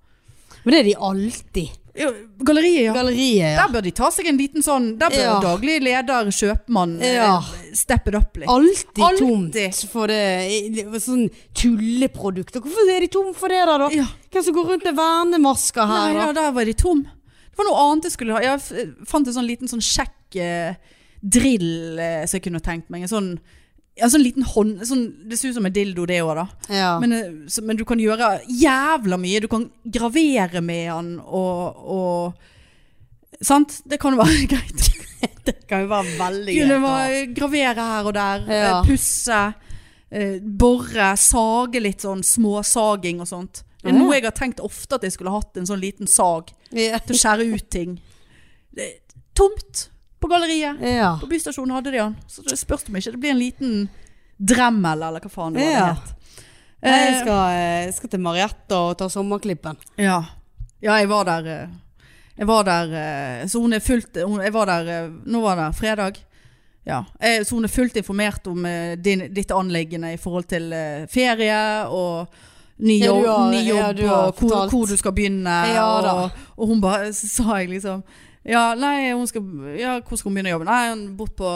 B: Men det er de alltid.
A: Ja, Galleriet, ja.
B: Galleriet, ja.
A: Der bør de ta seg en liten sånn Der bør
B: Ja.
A: daglig leder, kjøpmann, eh,
B: Ja.
A: steppe det opp litt.
B: Alltid
A: Alltid.
B: tomt for det. Sånn tulleprodukter. Hvorfor er de tom for det der, da?
A: Ja.
B: Hvem som går rundt med vernemasker
A: Nei,
B: her,
A: ja,
B: da?
A: der var de tom. Det var noe annet jeg skulle ha. Jeg f- fant en sånn liten sånn kjekk eh, drill eh, som jeg kunne tenkt meg. En sånn, ja, en sånn liten hånd sånn, Det ser ut som en dildo, det òg, da.
B: Ja.
A: Men, eh, så, men du kan gjøre jævla mye. Du kan gravere med den og, og Sant? Det kan jo være greit.
B: det kan jo være veldig
A: Kunne
B: greit. da.
A: være- gravere her og der.
B: Ja.
A: eh, Pusse. eh, Bore. Sage litt sånn småsaging og sånt. Det er
B: Ja.
A: noe jeg har tenkt ofte at jeg skulle hatt en sånn liten sag
B: Ja.
A: til å skjære ut ting. Det er tomt på galleriet.
B: Ja.
A: På bystasjonen hadde de den. Så det spørs om ikke det blir en liten dremmel, eller hva faen det var.
B: Ja.
A: det het.
B: Nei, jeg
A: Eh,
B: skal, jeg skal til Marietta og ta sommerklippen.
A: Ja. ja, jeg var der eh, Jeg var der eh, Så hun er fullt hun, Jeg var der eh, Nå var det fredag. Ja. eh, Så hun er fullt informert om eh, din, ditt anliggende i forhold til eh, ferie og ny
B: Ja, du
A: jobb,
B: har-
A: ny jobb
B: ja, du har
A: og hvor,
B: fortalt.
A: hvor du skal begynne.
B: Ja, da.
A: og, og hun bare Så sa jeg liksom ja, nei, hun skal, ja, hvor skal hun begynne å jobbe? Nei, hun bort på,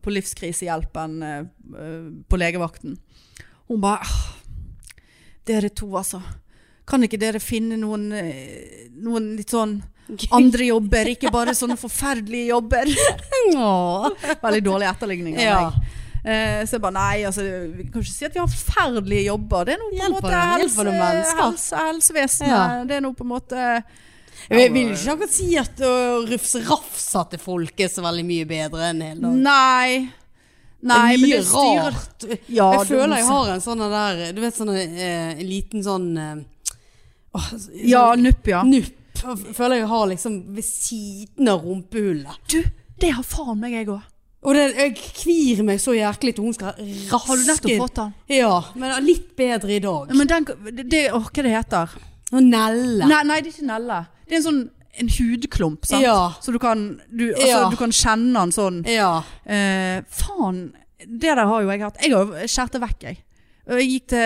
A: på livskrisehjelpen eh, eh, på legevakten. Hun bare «Ah, Dere to, altså. Kan ikke dere finne noen, eh, noen litt sånn andre jobber, ikke bare sånne forferdelige jobber?
B: Åh.
A: Veldig dårlig etterligning av
B: Ja.
A: meg. Eh, så jeg bare nei, altså, vi kan ikke si at vi har forferdelige jobber. Det er noe på en
B: Hjelper
A: måte
B: noen-
A: helse,
B: hjelper noen mennesker.
A: helse, helsevesenet.
B: Ja.
A: Det er noe på en måte
B: Jeg vil ikke akkurat si at å rufse rafsa til folk er så veldig mye bedre enn hele dagen.
A: Nei. Nei,
B: det er
A: men
B: mye
A: det styrer
B: rart.
A: Ja,
B: jeg
A: du-
B: føler jeg har en sånn der Du vet sånn eh, en liten sånn eh, åh, sånn
A: Ja, nupp, ja.
B: nupp. Jeg Føler jeg har liksom ved siden av rumpehullet.
A: Du, det har faen meg jeg òg.
B: Og det, jeg kvir meg så jæklig til hun skal raske
A: Har du nettopp fått den?
B: Ja, men litt bedre i dag.
A: Ja, Men den det- det, åh, Hva det heter
B: Og Nelle.
A: Nei, nei, det er ikke Nelle. Det er en sånn en hudklump, sant?
B: Ja.
A: Så du kan, du, altså,
B: Ja.
A: du kan kjenne den sånn
B: Ja.
A: Eh, faen, det der har jo jeg hatt. Jeg har jo skjært det vekk, jeg. Og Jeg gikk til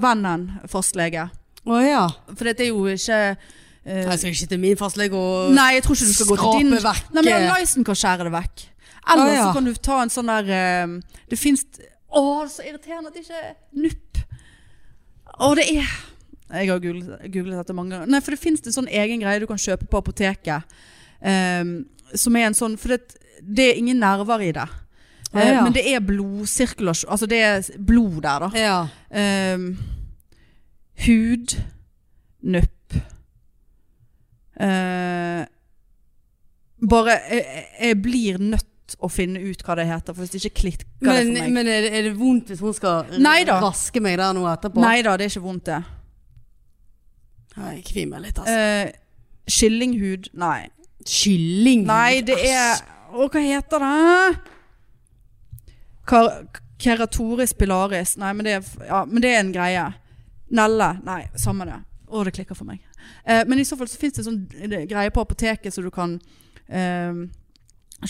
A: vennen, fastlege.
B: Å ja.
A: For dette er jo ikke eh,
B: Jeg skal ikke til min fastlege og
A: Nei, jeg tror ikke du skal gå til
B: Skrape
A: din.
B: vekk,
A: Nei, men
B: eh.
A: Lyson kan skjære det vekk. Eller
B: Ah, ja.
A: så kan du ta en sånn der eh, Det fins Å, så irriterende at det ikke er nupp. Å, det er Jeg har googlet, googlet dette mange ganger. Nei, for det fins en sånn egen greie du kan kjøpe på apoteket. eh, som er en sånn For det, det er ingen nerver i det.
B: Ah,
A: Eh,
B: ja.
A: Men det er blodsirkulasjon Altså det er blod der, da.
B: Ja.
A: Ehm, hud, nupp Eh, Bare jeg, jeg blir nødt å finne ut hva det heter, for hvis det ikke klikker
B: Men,
A: det for meg
B: men er, det, er det vondt hvis hun skal
A: Neida.
B: raske meg der nå etterpå?
A: Nei da, det er ikke vondt, det.
B: Ja, Jeg kvir meg litt, altså.
A: Eh, Skillinghud? Nei.
B: Kylling?
A: Nei, det er Å, hva heter det? Kar keratoris pilaris. Nei, men det, er, f- ja, men det er en greie. Nelle. Nei, samme det. Å, det klikker for meg. Eh, men i så fall så fins det en sånn eh, greie på apoteket som du kan eh,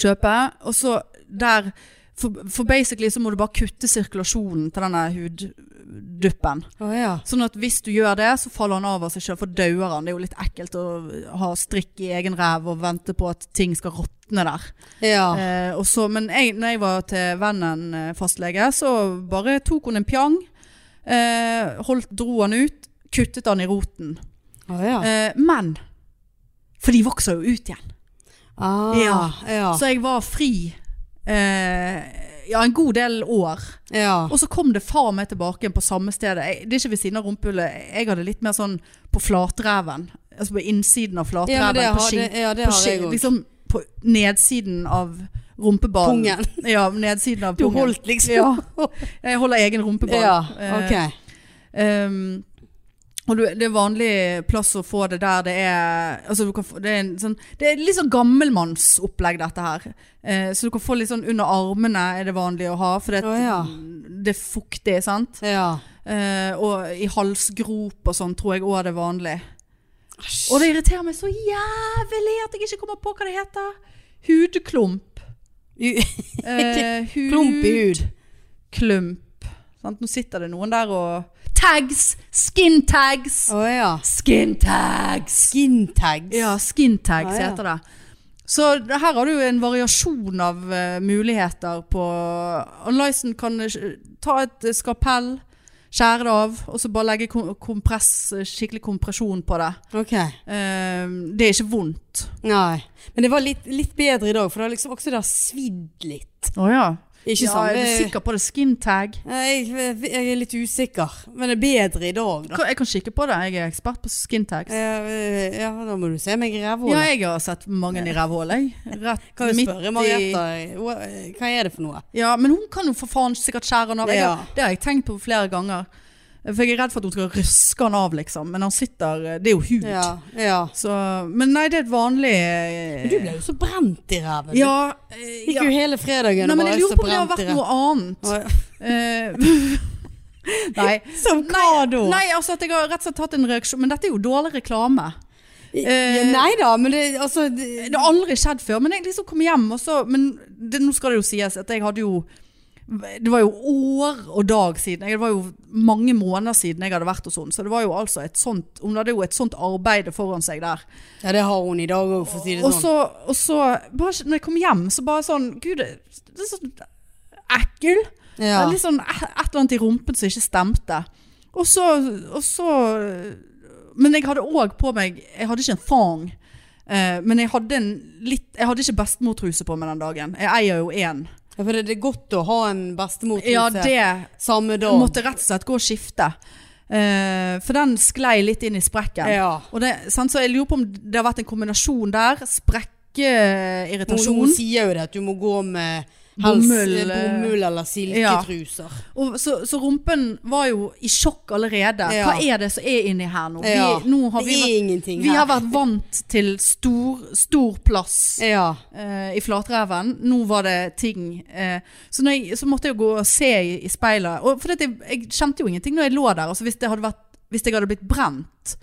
A: kjøpe. Og så der for, for basically så må du bare kutte sirkulasjonen til denne hudduppen.
B: Å ja.
A: Sånn at hvis du gjør det, så faller han av av seg selv, for dauer han. Det er jo litt ekkelt å ha strikk i egen ræv og vente på at ting skal råtne der.
B: ja.
A: Eh, og så, men jeg, når jeg var til vennen eh, fastlege, så bare tok hun en pjang, eh, holdt, dro han ut, kuttet han i roten.
B: Å ja.
A: Eh, men, for de vokser jo ut igjen.
B: Ah, ja.
A: Ja.
B: Ja.
A: Så jeg var fri eh, ja, en god del år.
B: ja.
A: Og så kom det far meg tilbake igjen på samme sted. Jeg, det er ikke ved siden av rumpehullet. Jeg hadde litt mer sånn på flatreven. Altså på innsiden av
B: ja, men
A: flatreven.
B: det
A: på
B: har,
A: skinn-
B: det, ja, det
A: på
B: har
A: skinn-
B: jeg òg.
A: Liksom på nedsiden av rumpeballen.
B: Pungen.
A: Ja, nedtsiden av pungen.
B: liksom
A: Ja. Jeg holder egen rumpeball.
B: Ja,
A: Eh,
B: ok.
A: Ehm, og du, det er vanlig plass å få det der det er altså du kan få, det, er en sånn, det er litt sånn gammelmannsopplegg dette her. Eh, så du kan få litt sånn under armene er det vanlig å ha, for det,
B: Å, ja.
A: det er fuktig, sant?
B: Ja.
A: Eh, og i halsgrop og sånn tror jeg òg det er vanlig. Og det irriterer meg så jævlig at jeg ikke kommer på hva det heter. Hudklump. Eh, hud,
B: Klump i hud.
A: Klump. Sant? Nå sitter det noen der og Tags! Skin tags!
B: Å ja.
A: Skin tags!
B: Skin tags.
A: Ja, skin tags
B: Ah, ja.
A: heter det. Så det- her har du en variasjon av eh, muligheter på Og Lyson kan eh, ta et eh, skapell, skjære det av, og så bare legge kom kompress, eh, skikkelig kompresjon på det.
B: Ok.
A: Eh, det er ikke vondt.
B: Nei. Men det var litt, litt bedre i dag, for det har liksom også det har svidd litt.
A: Å ja.
B: Ikke
A: ja
B: sant?
A: er du sikker på det? Skin tag?
B: Nei, Jeg, jeg er litt usikker, men det er bedre i dag, da.
A: Ka- Jeg kan kikke på det. Jeg er ekspert på skin tags.
B: Eh, Ja, da må du se meg i
A: Ja,
B: rævhullet.
A: jeg har sett mange i rævhålet.
B: Kan jo spørre Marietta hva- eh, hva er det for noe?
A: Ja, men hun kan jo for faen sikkert skjære han av. Jeg, har-
B: Ja.
A: Det har jeg tenkt på flere ganger. For jeg er redd for at hun skal røske han av, liksom. Men han sitter Det er jo hud.
B: Ja, ja.
A: Så, men nei, det er et vanlig
B: Men du ble jo så brent i ræven. du.
A: Ja. eh,
B: Gikk
A: ja.
B: jo hele fredagen
A: Nei,
B: og
A: men
B: bare
A: jeg
B: er så
A: lurer på om det har
B: brent i
A: vært
B: ræven.
A: noe annet. Eh, nei.
B: Som hva da?
A: nei, altså at jeg har rett og slett hatt en reaksjon. Men dette er jo dårlig reklame.
B: ja, nei da, men det altså det,
A: Det har aldri skjedd før, men jeg liksom kom hjem, og så Men det, nå skal det jo sies at jeg hadde jo Det var jo år og dag siden. Det var jo mange måneder siden jeg hadde vært hos henne. Så det var jo altså et sånt Hun hadde jo et sånt arbeid foran seg der.
B: Ja, det har hun i dag òg, for å si det
A: Og
B: sånn.
A: så, og så bare, Når jeg kom hjem, så bare sånn Gud, det er sånn ekkel.
B: Ja.
A: Det er Litt sånn et et eller annet i rumpen som ikke stemte. Og så, og så Men jeg hadde òg på meg Jeg hadde ikke en fang. eh, men jeg hadde, en litt, jeg hadde ikke bestemortruse på meg den dagen. Jeg eier jo én.
B: Ja, for det det er godt å ha en bestemor til
A: Ja,
B: seg
A: det
B: samme dag.
A: Jeg måtte rett og slett gå og skifte. Eh, for den sklei litt inn i sprekken.
B: ja.
A: Og det, sant, så jeg lurer på om det har vært en kombinasjon der.
B: Hun, hun
A: Sprekkeirritasjon.
B: sier jo det, at du må gå med helst
A: Bomull,
B: eh, bomull eller silketruser.
A: Og Så, så rumpen var jo i sjokk allerede.
B: Ja.
A: Hva er det som er inni her nå?
B: Ja.
A: Vi, nå har
B: det
A: vi,
B: er
A: vært-
B: ingenting
A: vi
B: her.
A: har vært vant til stor, stor plass.
B: Ja.
A: eh, I flatreven. Nå var det ting. eh, så, når jeg, så måtte jeg jo gå og se i, i speilet. Og for dette, jeg kjente jo ingenting når jeg lå der. Altså, hvis, det hadde vært, hvis jeg hadde blitt brent,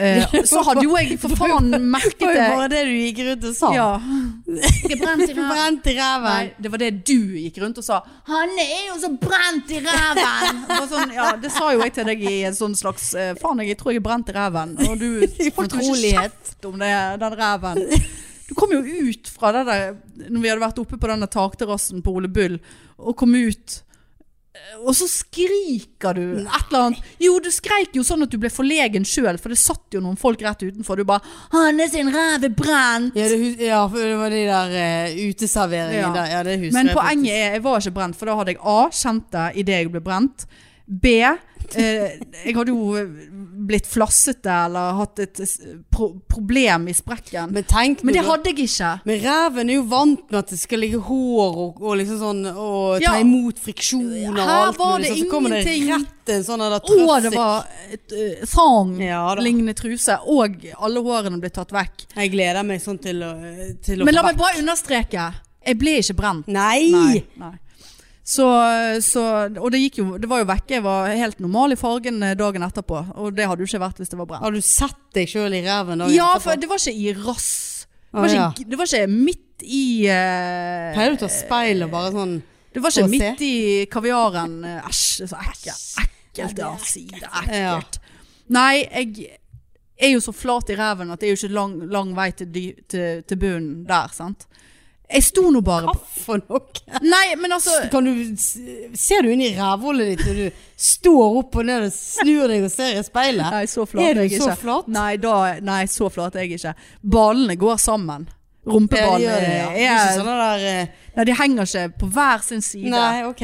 A: eh, så hadde jo jeg for faen merket
B: Det var jo
A: det.
B: bare det du gikk rundt og sa.
A: eh, Ja. Jeg er brent i
B: Du
A: ræven.
B: brente
A: Nei,
B: ræven.
A: det var det du gikk rundt og sa. 'Han er jo så brent i ræven!' Det var Sånn, ja, det sa jo jeg til deg i en sånn slags eh, 'Faen, jeg tror jeg er brent i ræven'. Og du holdt jo ikke
B: Fortrolighet.
A: kjeft om det, den ræven. Du kom jo ut fra det der Når vi hadde vært oppe på denne takterrassen på Ole Bull, og kom ut eh, og så skriker du et eller annet. Jo, du skreik jo sånn at du ble forlegen sjøl, for det satt jo noen folk rett utenfor. Du bare 'Hanne sin ræv er brent'.
B: Ja, det, hus- ja, for det var de der eh, uteserveringene
A: Ja.
B: der. Ja, det husker
A: Men
B: jeg
A: poenget er, jeg var ikke brent, for da hadde jeg A, kjent det idet jeg ble brent. B, eh, jeg hadde jo eh, blitt flassete eller hatt et s- pro problem i sprekken.
B: Men tenk
A: Men det
B: nå, da.
A: hadde jeg ikke.
B: Men reven er jo vant med at det skal ligge hår og, og liksom sånn Og ta
A: Ja.
B: imot friksjoner og
A: Her
B: alt
A: var
B: mulig,
A: det
B: sånn, Så kommer det
A: ingenting.
B: rett en sånn der
A: Og
B: trøssel.
A: det var et, eh, thong,
B: Ja da.
A: lignende truse, og alle hårene ble tatt vekk.
B: Jeg gleder meg sånn til å, til å
A: Men la
B: få-
A: meg bare understreke, jeg ble ikke brent.
B: Nei!
A: Nei. nei. Så, så, og det, gikk jo, det var jo vekke, jeg var helt normal i fargen eh, dagen etterpå, og det hadde jo ikke vært hvis det var brent.
B: Har du sett deg sjøl i reven? dagen
A: Ja,
B: etterpå?
A: for det var ikke i rass. Det
B: Å,
A: var ikke,
B: ja.
A: det var ikke midt i eh,
B: Pleier du å ta speil og bare sånn
A: Det var ikke
B: Få se.
A: midt i kaviaren. eh, Æsj, det er så ekkelt. Ekkelt det er avside. Ekkelt. Nei, jeg er jo så flat i ræven at det er jo ikke lang, lang vei til, dy- til, til bunnen der, sant. Jeg sto nå bare på
B: For noe!
A: Nei, men altså
B: Kan du, ser du inn i rævhullet ditt når du står opp og ned og snur deg og ser i speilet?
A: Nei, så flat
B: Er du
A: jeg
B: så
A: ikke.
B: flat?
A: Nei, da, nei, så flat er jeg ikke. Ballene går sammen.
B: Ja, det
A: Rumpeballene
B: gjør det, ja. Det er ikke
A: er,
B: sånn der eh,
A: nei, de henger ikke på hver sin side.
B: Nei, ok.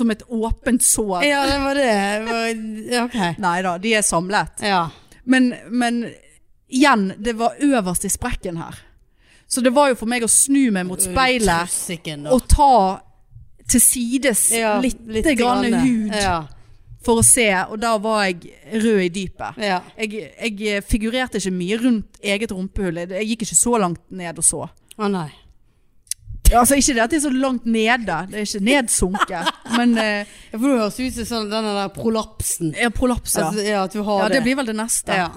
A: Som et åpent sår.
B: Ja, det var det. det var, ja, ok.
A: Nei da, de er samlet.
B: Ja.
A: Men, men igjen, det var øverst i sprekken her. Så det var jo for meg å snu meg mot speilet
B: Trussiken, da.
A: og ta til sides
B: Ja,
A: litt,
B: lite eh,
A: grann hud
B: Ja.
A: for å se, og da var jeg rød i dypet.
B: ja.
A: Jeg, jeg figurerte ikke mye rundt eget rumpehull. Jeg- Jeg gikk ikke så langt ned og så.
B: Å nei.
A: Ja, altså Ikke det at det er så langt nede, det er ikke nedsunket, men eh,
B: Ja, For du høres ut som sånn, denne der prolapsen.
A: jeg prolapsa.
B: Altså, ja, at du har
A: Ja, det
B: det.
A: blir vel det neste.
B: ja.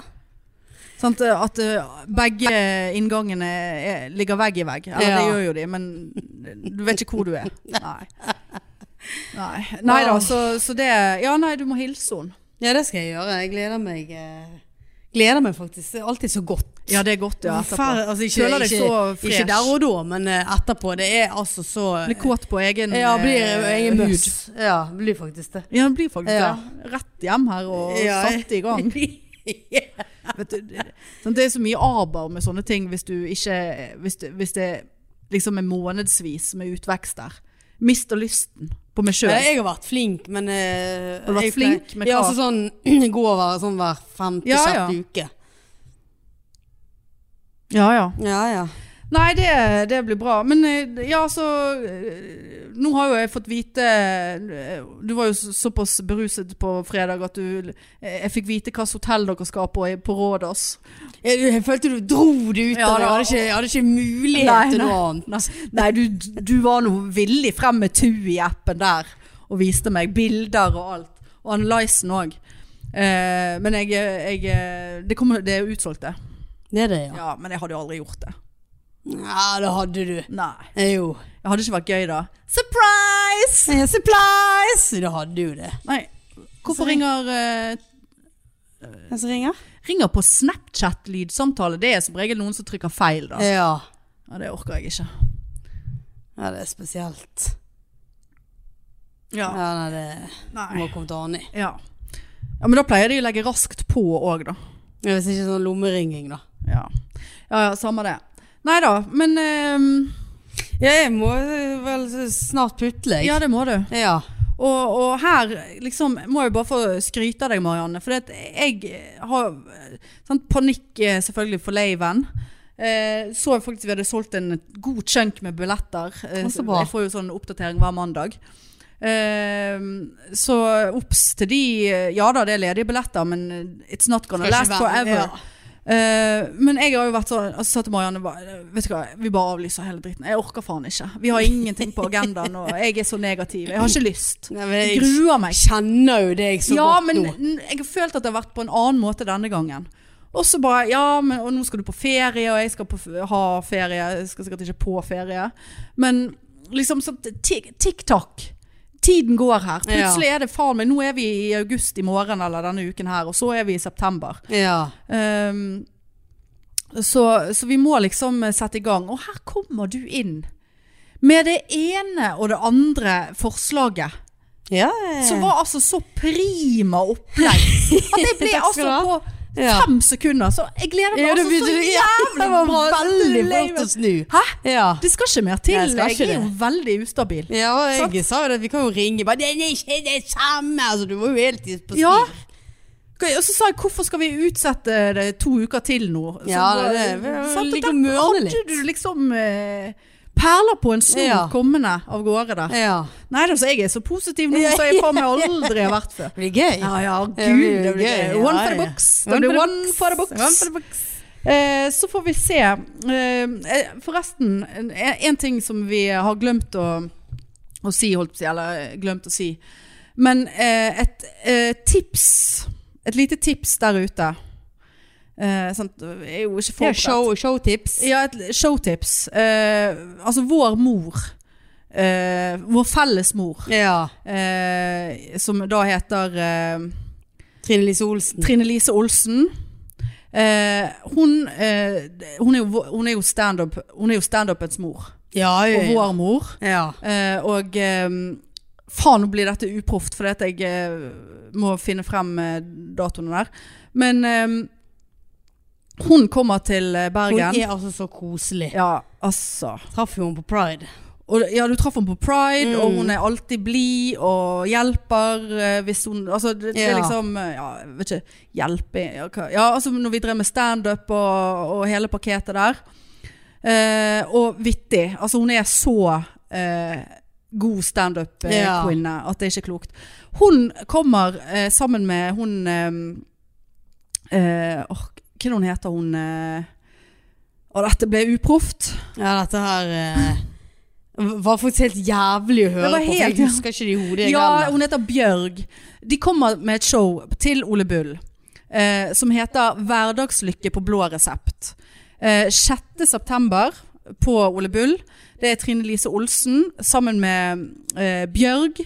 A: Sant, eh, at eh, begge inngangene er, ligger vegg i vegg. Eller det
B: Ja.
A: gjør jo de, men du vet ikke hvor du er. Nei. Nei, nei da, så, så det Ja, nei, du må hilse henne.
B: ja, det skal jeg gjøre. Jeg gleder meg eh, Gleder meg faktisk. Det er alltid så godt.
A: Ja, det er godt, ja. Etterpå.
B: Fær- altså, ikke,
A: Føler deg
B: ikke,
A: så fresh.
B: ikke der og da, men eh, etterpå. Det er altså så
A: Blir kåt på egen
B: Ja, blir
A: eh,
B: jeg er møss.
A: hud.
B: Ja, blir faktisk det.
A: Ja, den blir faktisk
B: Ja.
A: det. Rett hjem her og
B: Ja.
A: satt i gang. Vet du, det- sant, det er så mye aber med sånne ting hvis du ikke Hvis, du, hvis det liksom er månedsvis med utvekst der. Mister lysten på meg sjøl.
B: Ja, jeg har vært flink, men eh,
A: Har du vært
B: jeg
A: flink
B: pleier-
A: med
B: Ja,
A: hva?
B: altså sånn gå over sånn hver femte,
A: Ja,
B: sjette
A: ja.
B: uke.
A: Ja, ja.
B: Ja, ja.
A: Nei, det, det blir bra. Men eh, ja, så eh, Nå har jo jeg fått vite eh, Du var jo så- såpass beruset på fredag at du eh, Jeg fikk vite hvilket hotell dere skal på i- på Rådås.
B: Jeg, jeg følte du dro det ut
A: Ja,
B: av meg. Jeg
A: da.
B: hadde ikke, jeg hadde ikke mulighet
A: Nei,
B: til
A: nei.
B: noe annet.
A: altså, Nei, du, du var nå villig frem med Tui-appen der og viste meg bilder og alt. Og Analysen òg. Eh, men jeg, jeg eh, det, kommer, det er utsolgt, det.
B: Det er det, ja.
A: Ja, men jeg hadde jo aldri gjort det.
B: Ja, det hadde du.
A: Nei.
B: Eh, Jo.
A: Det hadde ikke vært gøy da. Surprise!
B: Eh, Supplies! Det hadde jo det.
A: Nei, hvorfor
B: Så-
A: ringer eh,
B: Hvem som ringer?
A: Ringer på Snapchat-lydsamtale. Det er som regel noen som trykker feil, da.
B: Ja.
A: Ja, det orker jeg ikke.
B: ja, det er spesielt.
A: Ja.
B: Ja, nei, det
A: Nei.
B: må komme til Arni.
A: Ja. ja, men da pleier de å legge raskt på òg, da.
B: Ja, Hvis ikke sånn lommeringing, da.
A: Ja. ja, ja, samme det. Nei da, men ehm,
B: Ja, jeg må eh, vel snart putle, jeg.
A: Ja, det må du.
B: Ja.
A: Og, og her liksom, må jeg bare få skryte av deg, Marianne. For det at jeg har sant, panikk eh, selvfølgelig for laven. Eh, så jeg faktisk vi hadde solgt en god chunk med billetter. Eh,
B: Å, så bra.
A: Jeg får jo sånn oppdatering hver mandag. Eh, så obs til de eh, Ja da, det er ledige billetter, men eh, it's not gonna
B: Skal ikke
A: last
B: være-
A: forever.
B: ja.
A: Eh, men jeg har jo vært sånn altså, sa til Marianne bare, Vet du hva, vi bare avlyser hele dritten. Jeg orker faen ikke. Vi har ingenting på agendaen, og jeg er så negativ. Jeg har ikke lyst.
B: Nei, men
A: Jeg
B: jeg
A: gruer meg.
B: kjenner jo deg så
A: Ja,
B: godt
A: men
B: nå.
A: n- jeg har følt at det har vært på en annen måte denne gangen. Og så bare Ja, men og nå skal du på ferie, og jeg skal på, f- ha ferie. Jeg skal sikkert ikke på ferie. Men liksom sånn tikk-takk. Tiden går her. Plutselig er det faen meg Nå er vi i august i morgen eller denne uken her, og så er vi i september.
B: Ja.
A: Ehm, så, så vi må liksom eh, sette i gang. Og her kommer du inn med det ene og det andre forslaget.
B: ja.
A: Som var altså så prima opplegg. At jeg ble
B: Takk skal
A: altså
B: du ha.
A: på
B: Ja.
A: fem sekunder. Så jeg gleder meg
B: Ja, det
A: altså
B: begynte
A: så
B: du- ja,
A: jævlig
B: det var veldig
A: bra.
B: fort å snu.
A: Hæ?
B: Ja.
A: Det skal ikke mer til.
B: Nei, det skal
A: Jeg
B: ikke
A: er jo
B: det.
A: veldig ustabil.
B: Ja, og jeg sa jo det, vi kan jo ringe bare, det er ikke det samme, altså du var jo helt i- på styr.
A: Ja. Ok, Og så sa jeg hvorfor skal vi utsette det to uker til nå? Så
B: Ja,
A: bare-
B: det- det-
A: Sant, og
B: ligge og
A: der
B: mørne litt.
A: Hadde du liksom eh, perler på en snor
B: Ja.
A: kommende av gårde der?
B: Ja,
A: Nei da, så jeg er så positiv nå, så jeg faen meg aldri har vært før.
B: det blir gøy.
A: Ja, ja, gud,
B: det blir
A: det blir
B: gøy.
A: gøy. One
B: Ja,
A: for the
B: ja.
A: box.
B: One
A: Det blir
B: for the
A: one
B: box.
A: for the box.
B: One for the
A: Eh, så får vi se. Eh, eh, forresten, en- en ting som vi har glemt å, å si, holdt på å si, eller eh, glemt å si. Men eh, et eh, tips, et lite tips der ute. Eh, sant, jeg er jo ikke
B: Ja,
A: forberedt.
B: show, showtips.
A: Ja, et showtips. Eh, altså vår mor, eh, vår felles mor,
B: Ja,
A: eh, som da heter eh,
B: Trine Lise Olsen.
A: Trine Lise Olsen. Eh, hun, eh, hun er jo, vå- hun er jo stand-up Hun er jo stand-upens mor.
B: Ja,
A: Og
B: ja, ja.
A: vår mor.
B: Ja.
A: Eh, og eh, faen, nå blir dette uproft, fordi at jeg eh, må finne frem eh, datoene der. Men eh, hun kommer til eh,
B: Hun
A: Bergen.
B: er altså så koselig.
A: Ja, altså.
B: Traff jo hun på Pride.
A: Og, ja, du traff henne på Pride,
B: Mm.
A: og hun er alltid blid og hjelper eh, hvis hun Altså, det, det
B: Ja.
A: er liksom eh, Ja, jeg vet ikke. Hjelpe ja, hva- Ja, altså når vi drev med standup og, og hele paketet der. Eh, og vittig. Altså, hun er så eh, god
B: Ja.
A: standup-kvinne at det er ikke klokt. Hun kommer eh, sammen med hun eh, eh, åh, Hva er det hun heter hun eh, Å, dette ble uproft.
B: Ja, dette her eh, var faktisk helt jævlig å høre
A: Det var
B: på, for
A: helt-
B: jeg husker ikke det i hodet jeg
A: Ja,
B: heller.
A: hun heter Bjørg. De kommer med et show til Ole Bull eh, som heter Hverdagslykke på blå resept. Eh, 6. september på Ole Bull. Det er Trine Lise Olsen sammen med eh, Bjørg,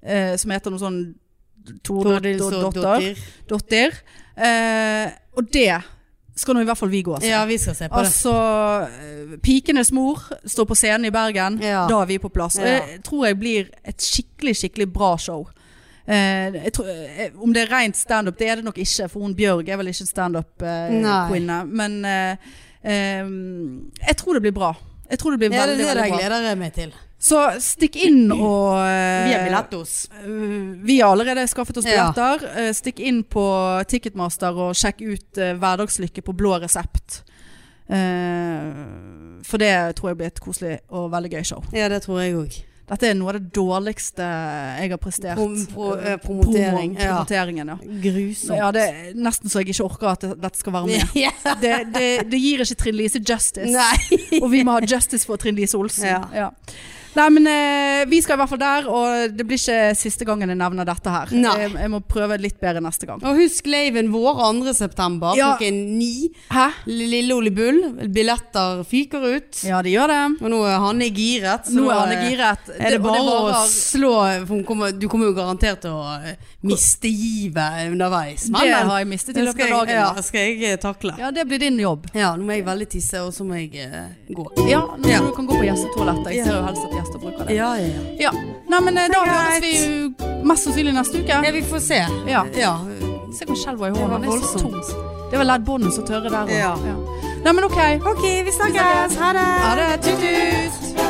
A: eh, som heter noe sånn
B: Tordil så
A: Tordotter. Dotter. Eh, og det skal nå i hvert fall vi gå. Altså.
B: Ja, vi skal se på det.
A: Altså, eh, Pikenes mor står på scenen i Bergen.
B: Ja.
A: Da er vi på plass. Og
B: Ja.
A: Jeg tror jeg blir et skikkelig, skikkelig bra show. Eh, jeg tror, eh, om det er rent standup, det er det nok ikke, for hun Bjørg er vel ikke
B: Nei.
A: standup-kvinne. Men eh, eh, jeg tror det blir bra. Jeg tror det blir
B: Ja, det er
A: veldig,
B: det jeg
A: veldig bra.
B: gleder jeg meg til.
A: Så stikk inn og eh,
B: Vi har billett hos.
A: Eh, Vi har allerede skaffet oss
B: Ja.
A: billetter. Eh, Stikk inn på Ticketmaster og sjekk ut eh, Hverdagslykke på blå resept. Eh, for det tror jeg blir et koselig og veldig gøy show.
B: Ja, det tror jeg òg.
A: Dette er noe av det dårligste jeg har prestert.
B: Prom- pro- eh,
A: Eh,
B: promotering,
A: promo-
B: ja.
A: promoteringen, ja.
B: Grusomt.
A: ja, det er nesten så jeg ikke orker at det- dette skal være med.
B: Ja.
A: Det, det, det gir ikke Trine Lise justice.
B: Nei.
A: Og vi må ha justice for Trine Lise Olsen.
B: Ja.
A: Ja. Nei, men eh, vi skal i hvert fall der, og det blir ikke siste gangen jeg nevner dette her. Eh,
B: Nei.
A: Jeg, jeg må prøve litt bedre neste gang.
B: Og husk laven vår 2. september
A: Ja.
B: klokken ni.
A: Hæ?
B: Lille Ole Bull. Billetter fyker ut.
A: Ja, det gjør det.
B: Og nå er Hanne giret. så
A: Nå er
B: da eh,
A: Hanne giret.
B: Er det
A: og
B: bare å
A: varer-
B: slå for hun kommer, Du kommer jo garantert til å eh, miste givet underveis.
A: Det har jeg mistet i løpet av dagen.
B: Ja,
A: da.
B: skal jeg eh, takle. Ja.
A: Ja, det blir din jobb.
B: nå må jeg veldig tisse, og så må jeg eh, gå.
A: Ja, nå
B: Ja.
A: du kan gå på gjestetoalettet. Jeg
B: Ja.
A: ser jo helst at gjester bruker det.
B: Ja, ja, ja.
A: Ja. Nei, men eh, da
B: Det er
A: høres vi jo mest sannsynlig neste uke.
B: Ja, vi får se.
A: Ja.
B: ja.
A: Se hvor skjelva i
B: Det var
A: hånden. Det er så
B: voldsomt.
A: tungt. Det var leddbåndene så tørre der. og-
B: Ja.
A: Nei, men ok.
B: Ok, vi snakkes. Ha det.
A: Ha det. Tut-tut.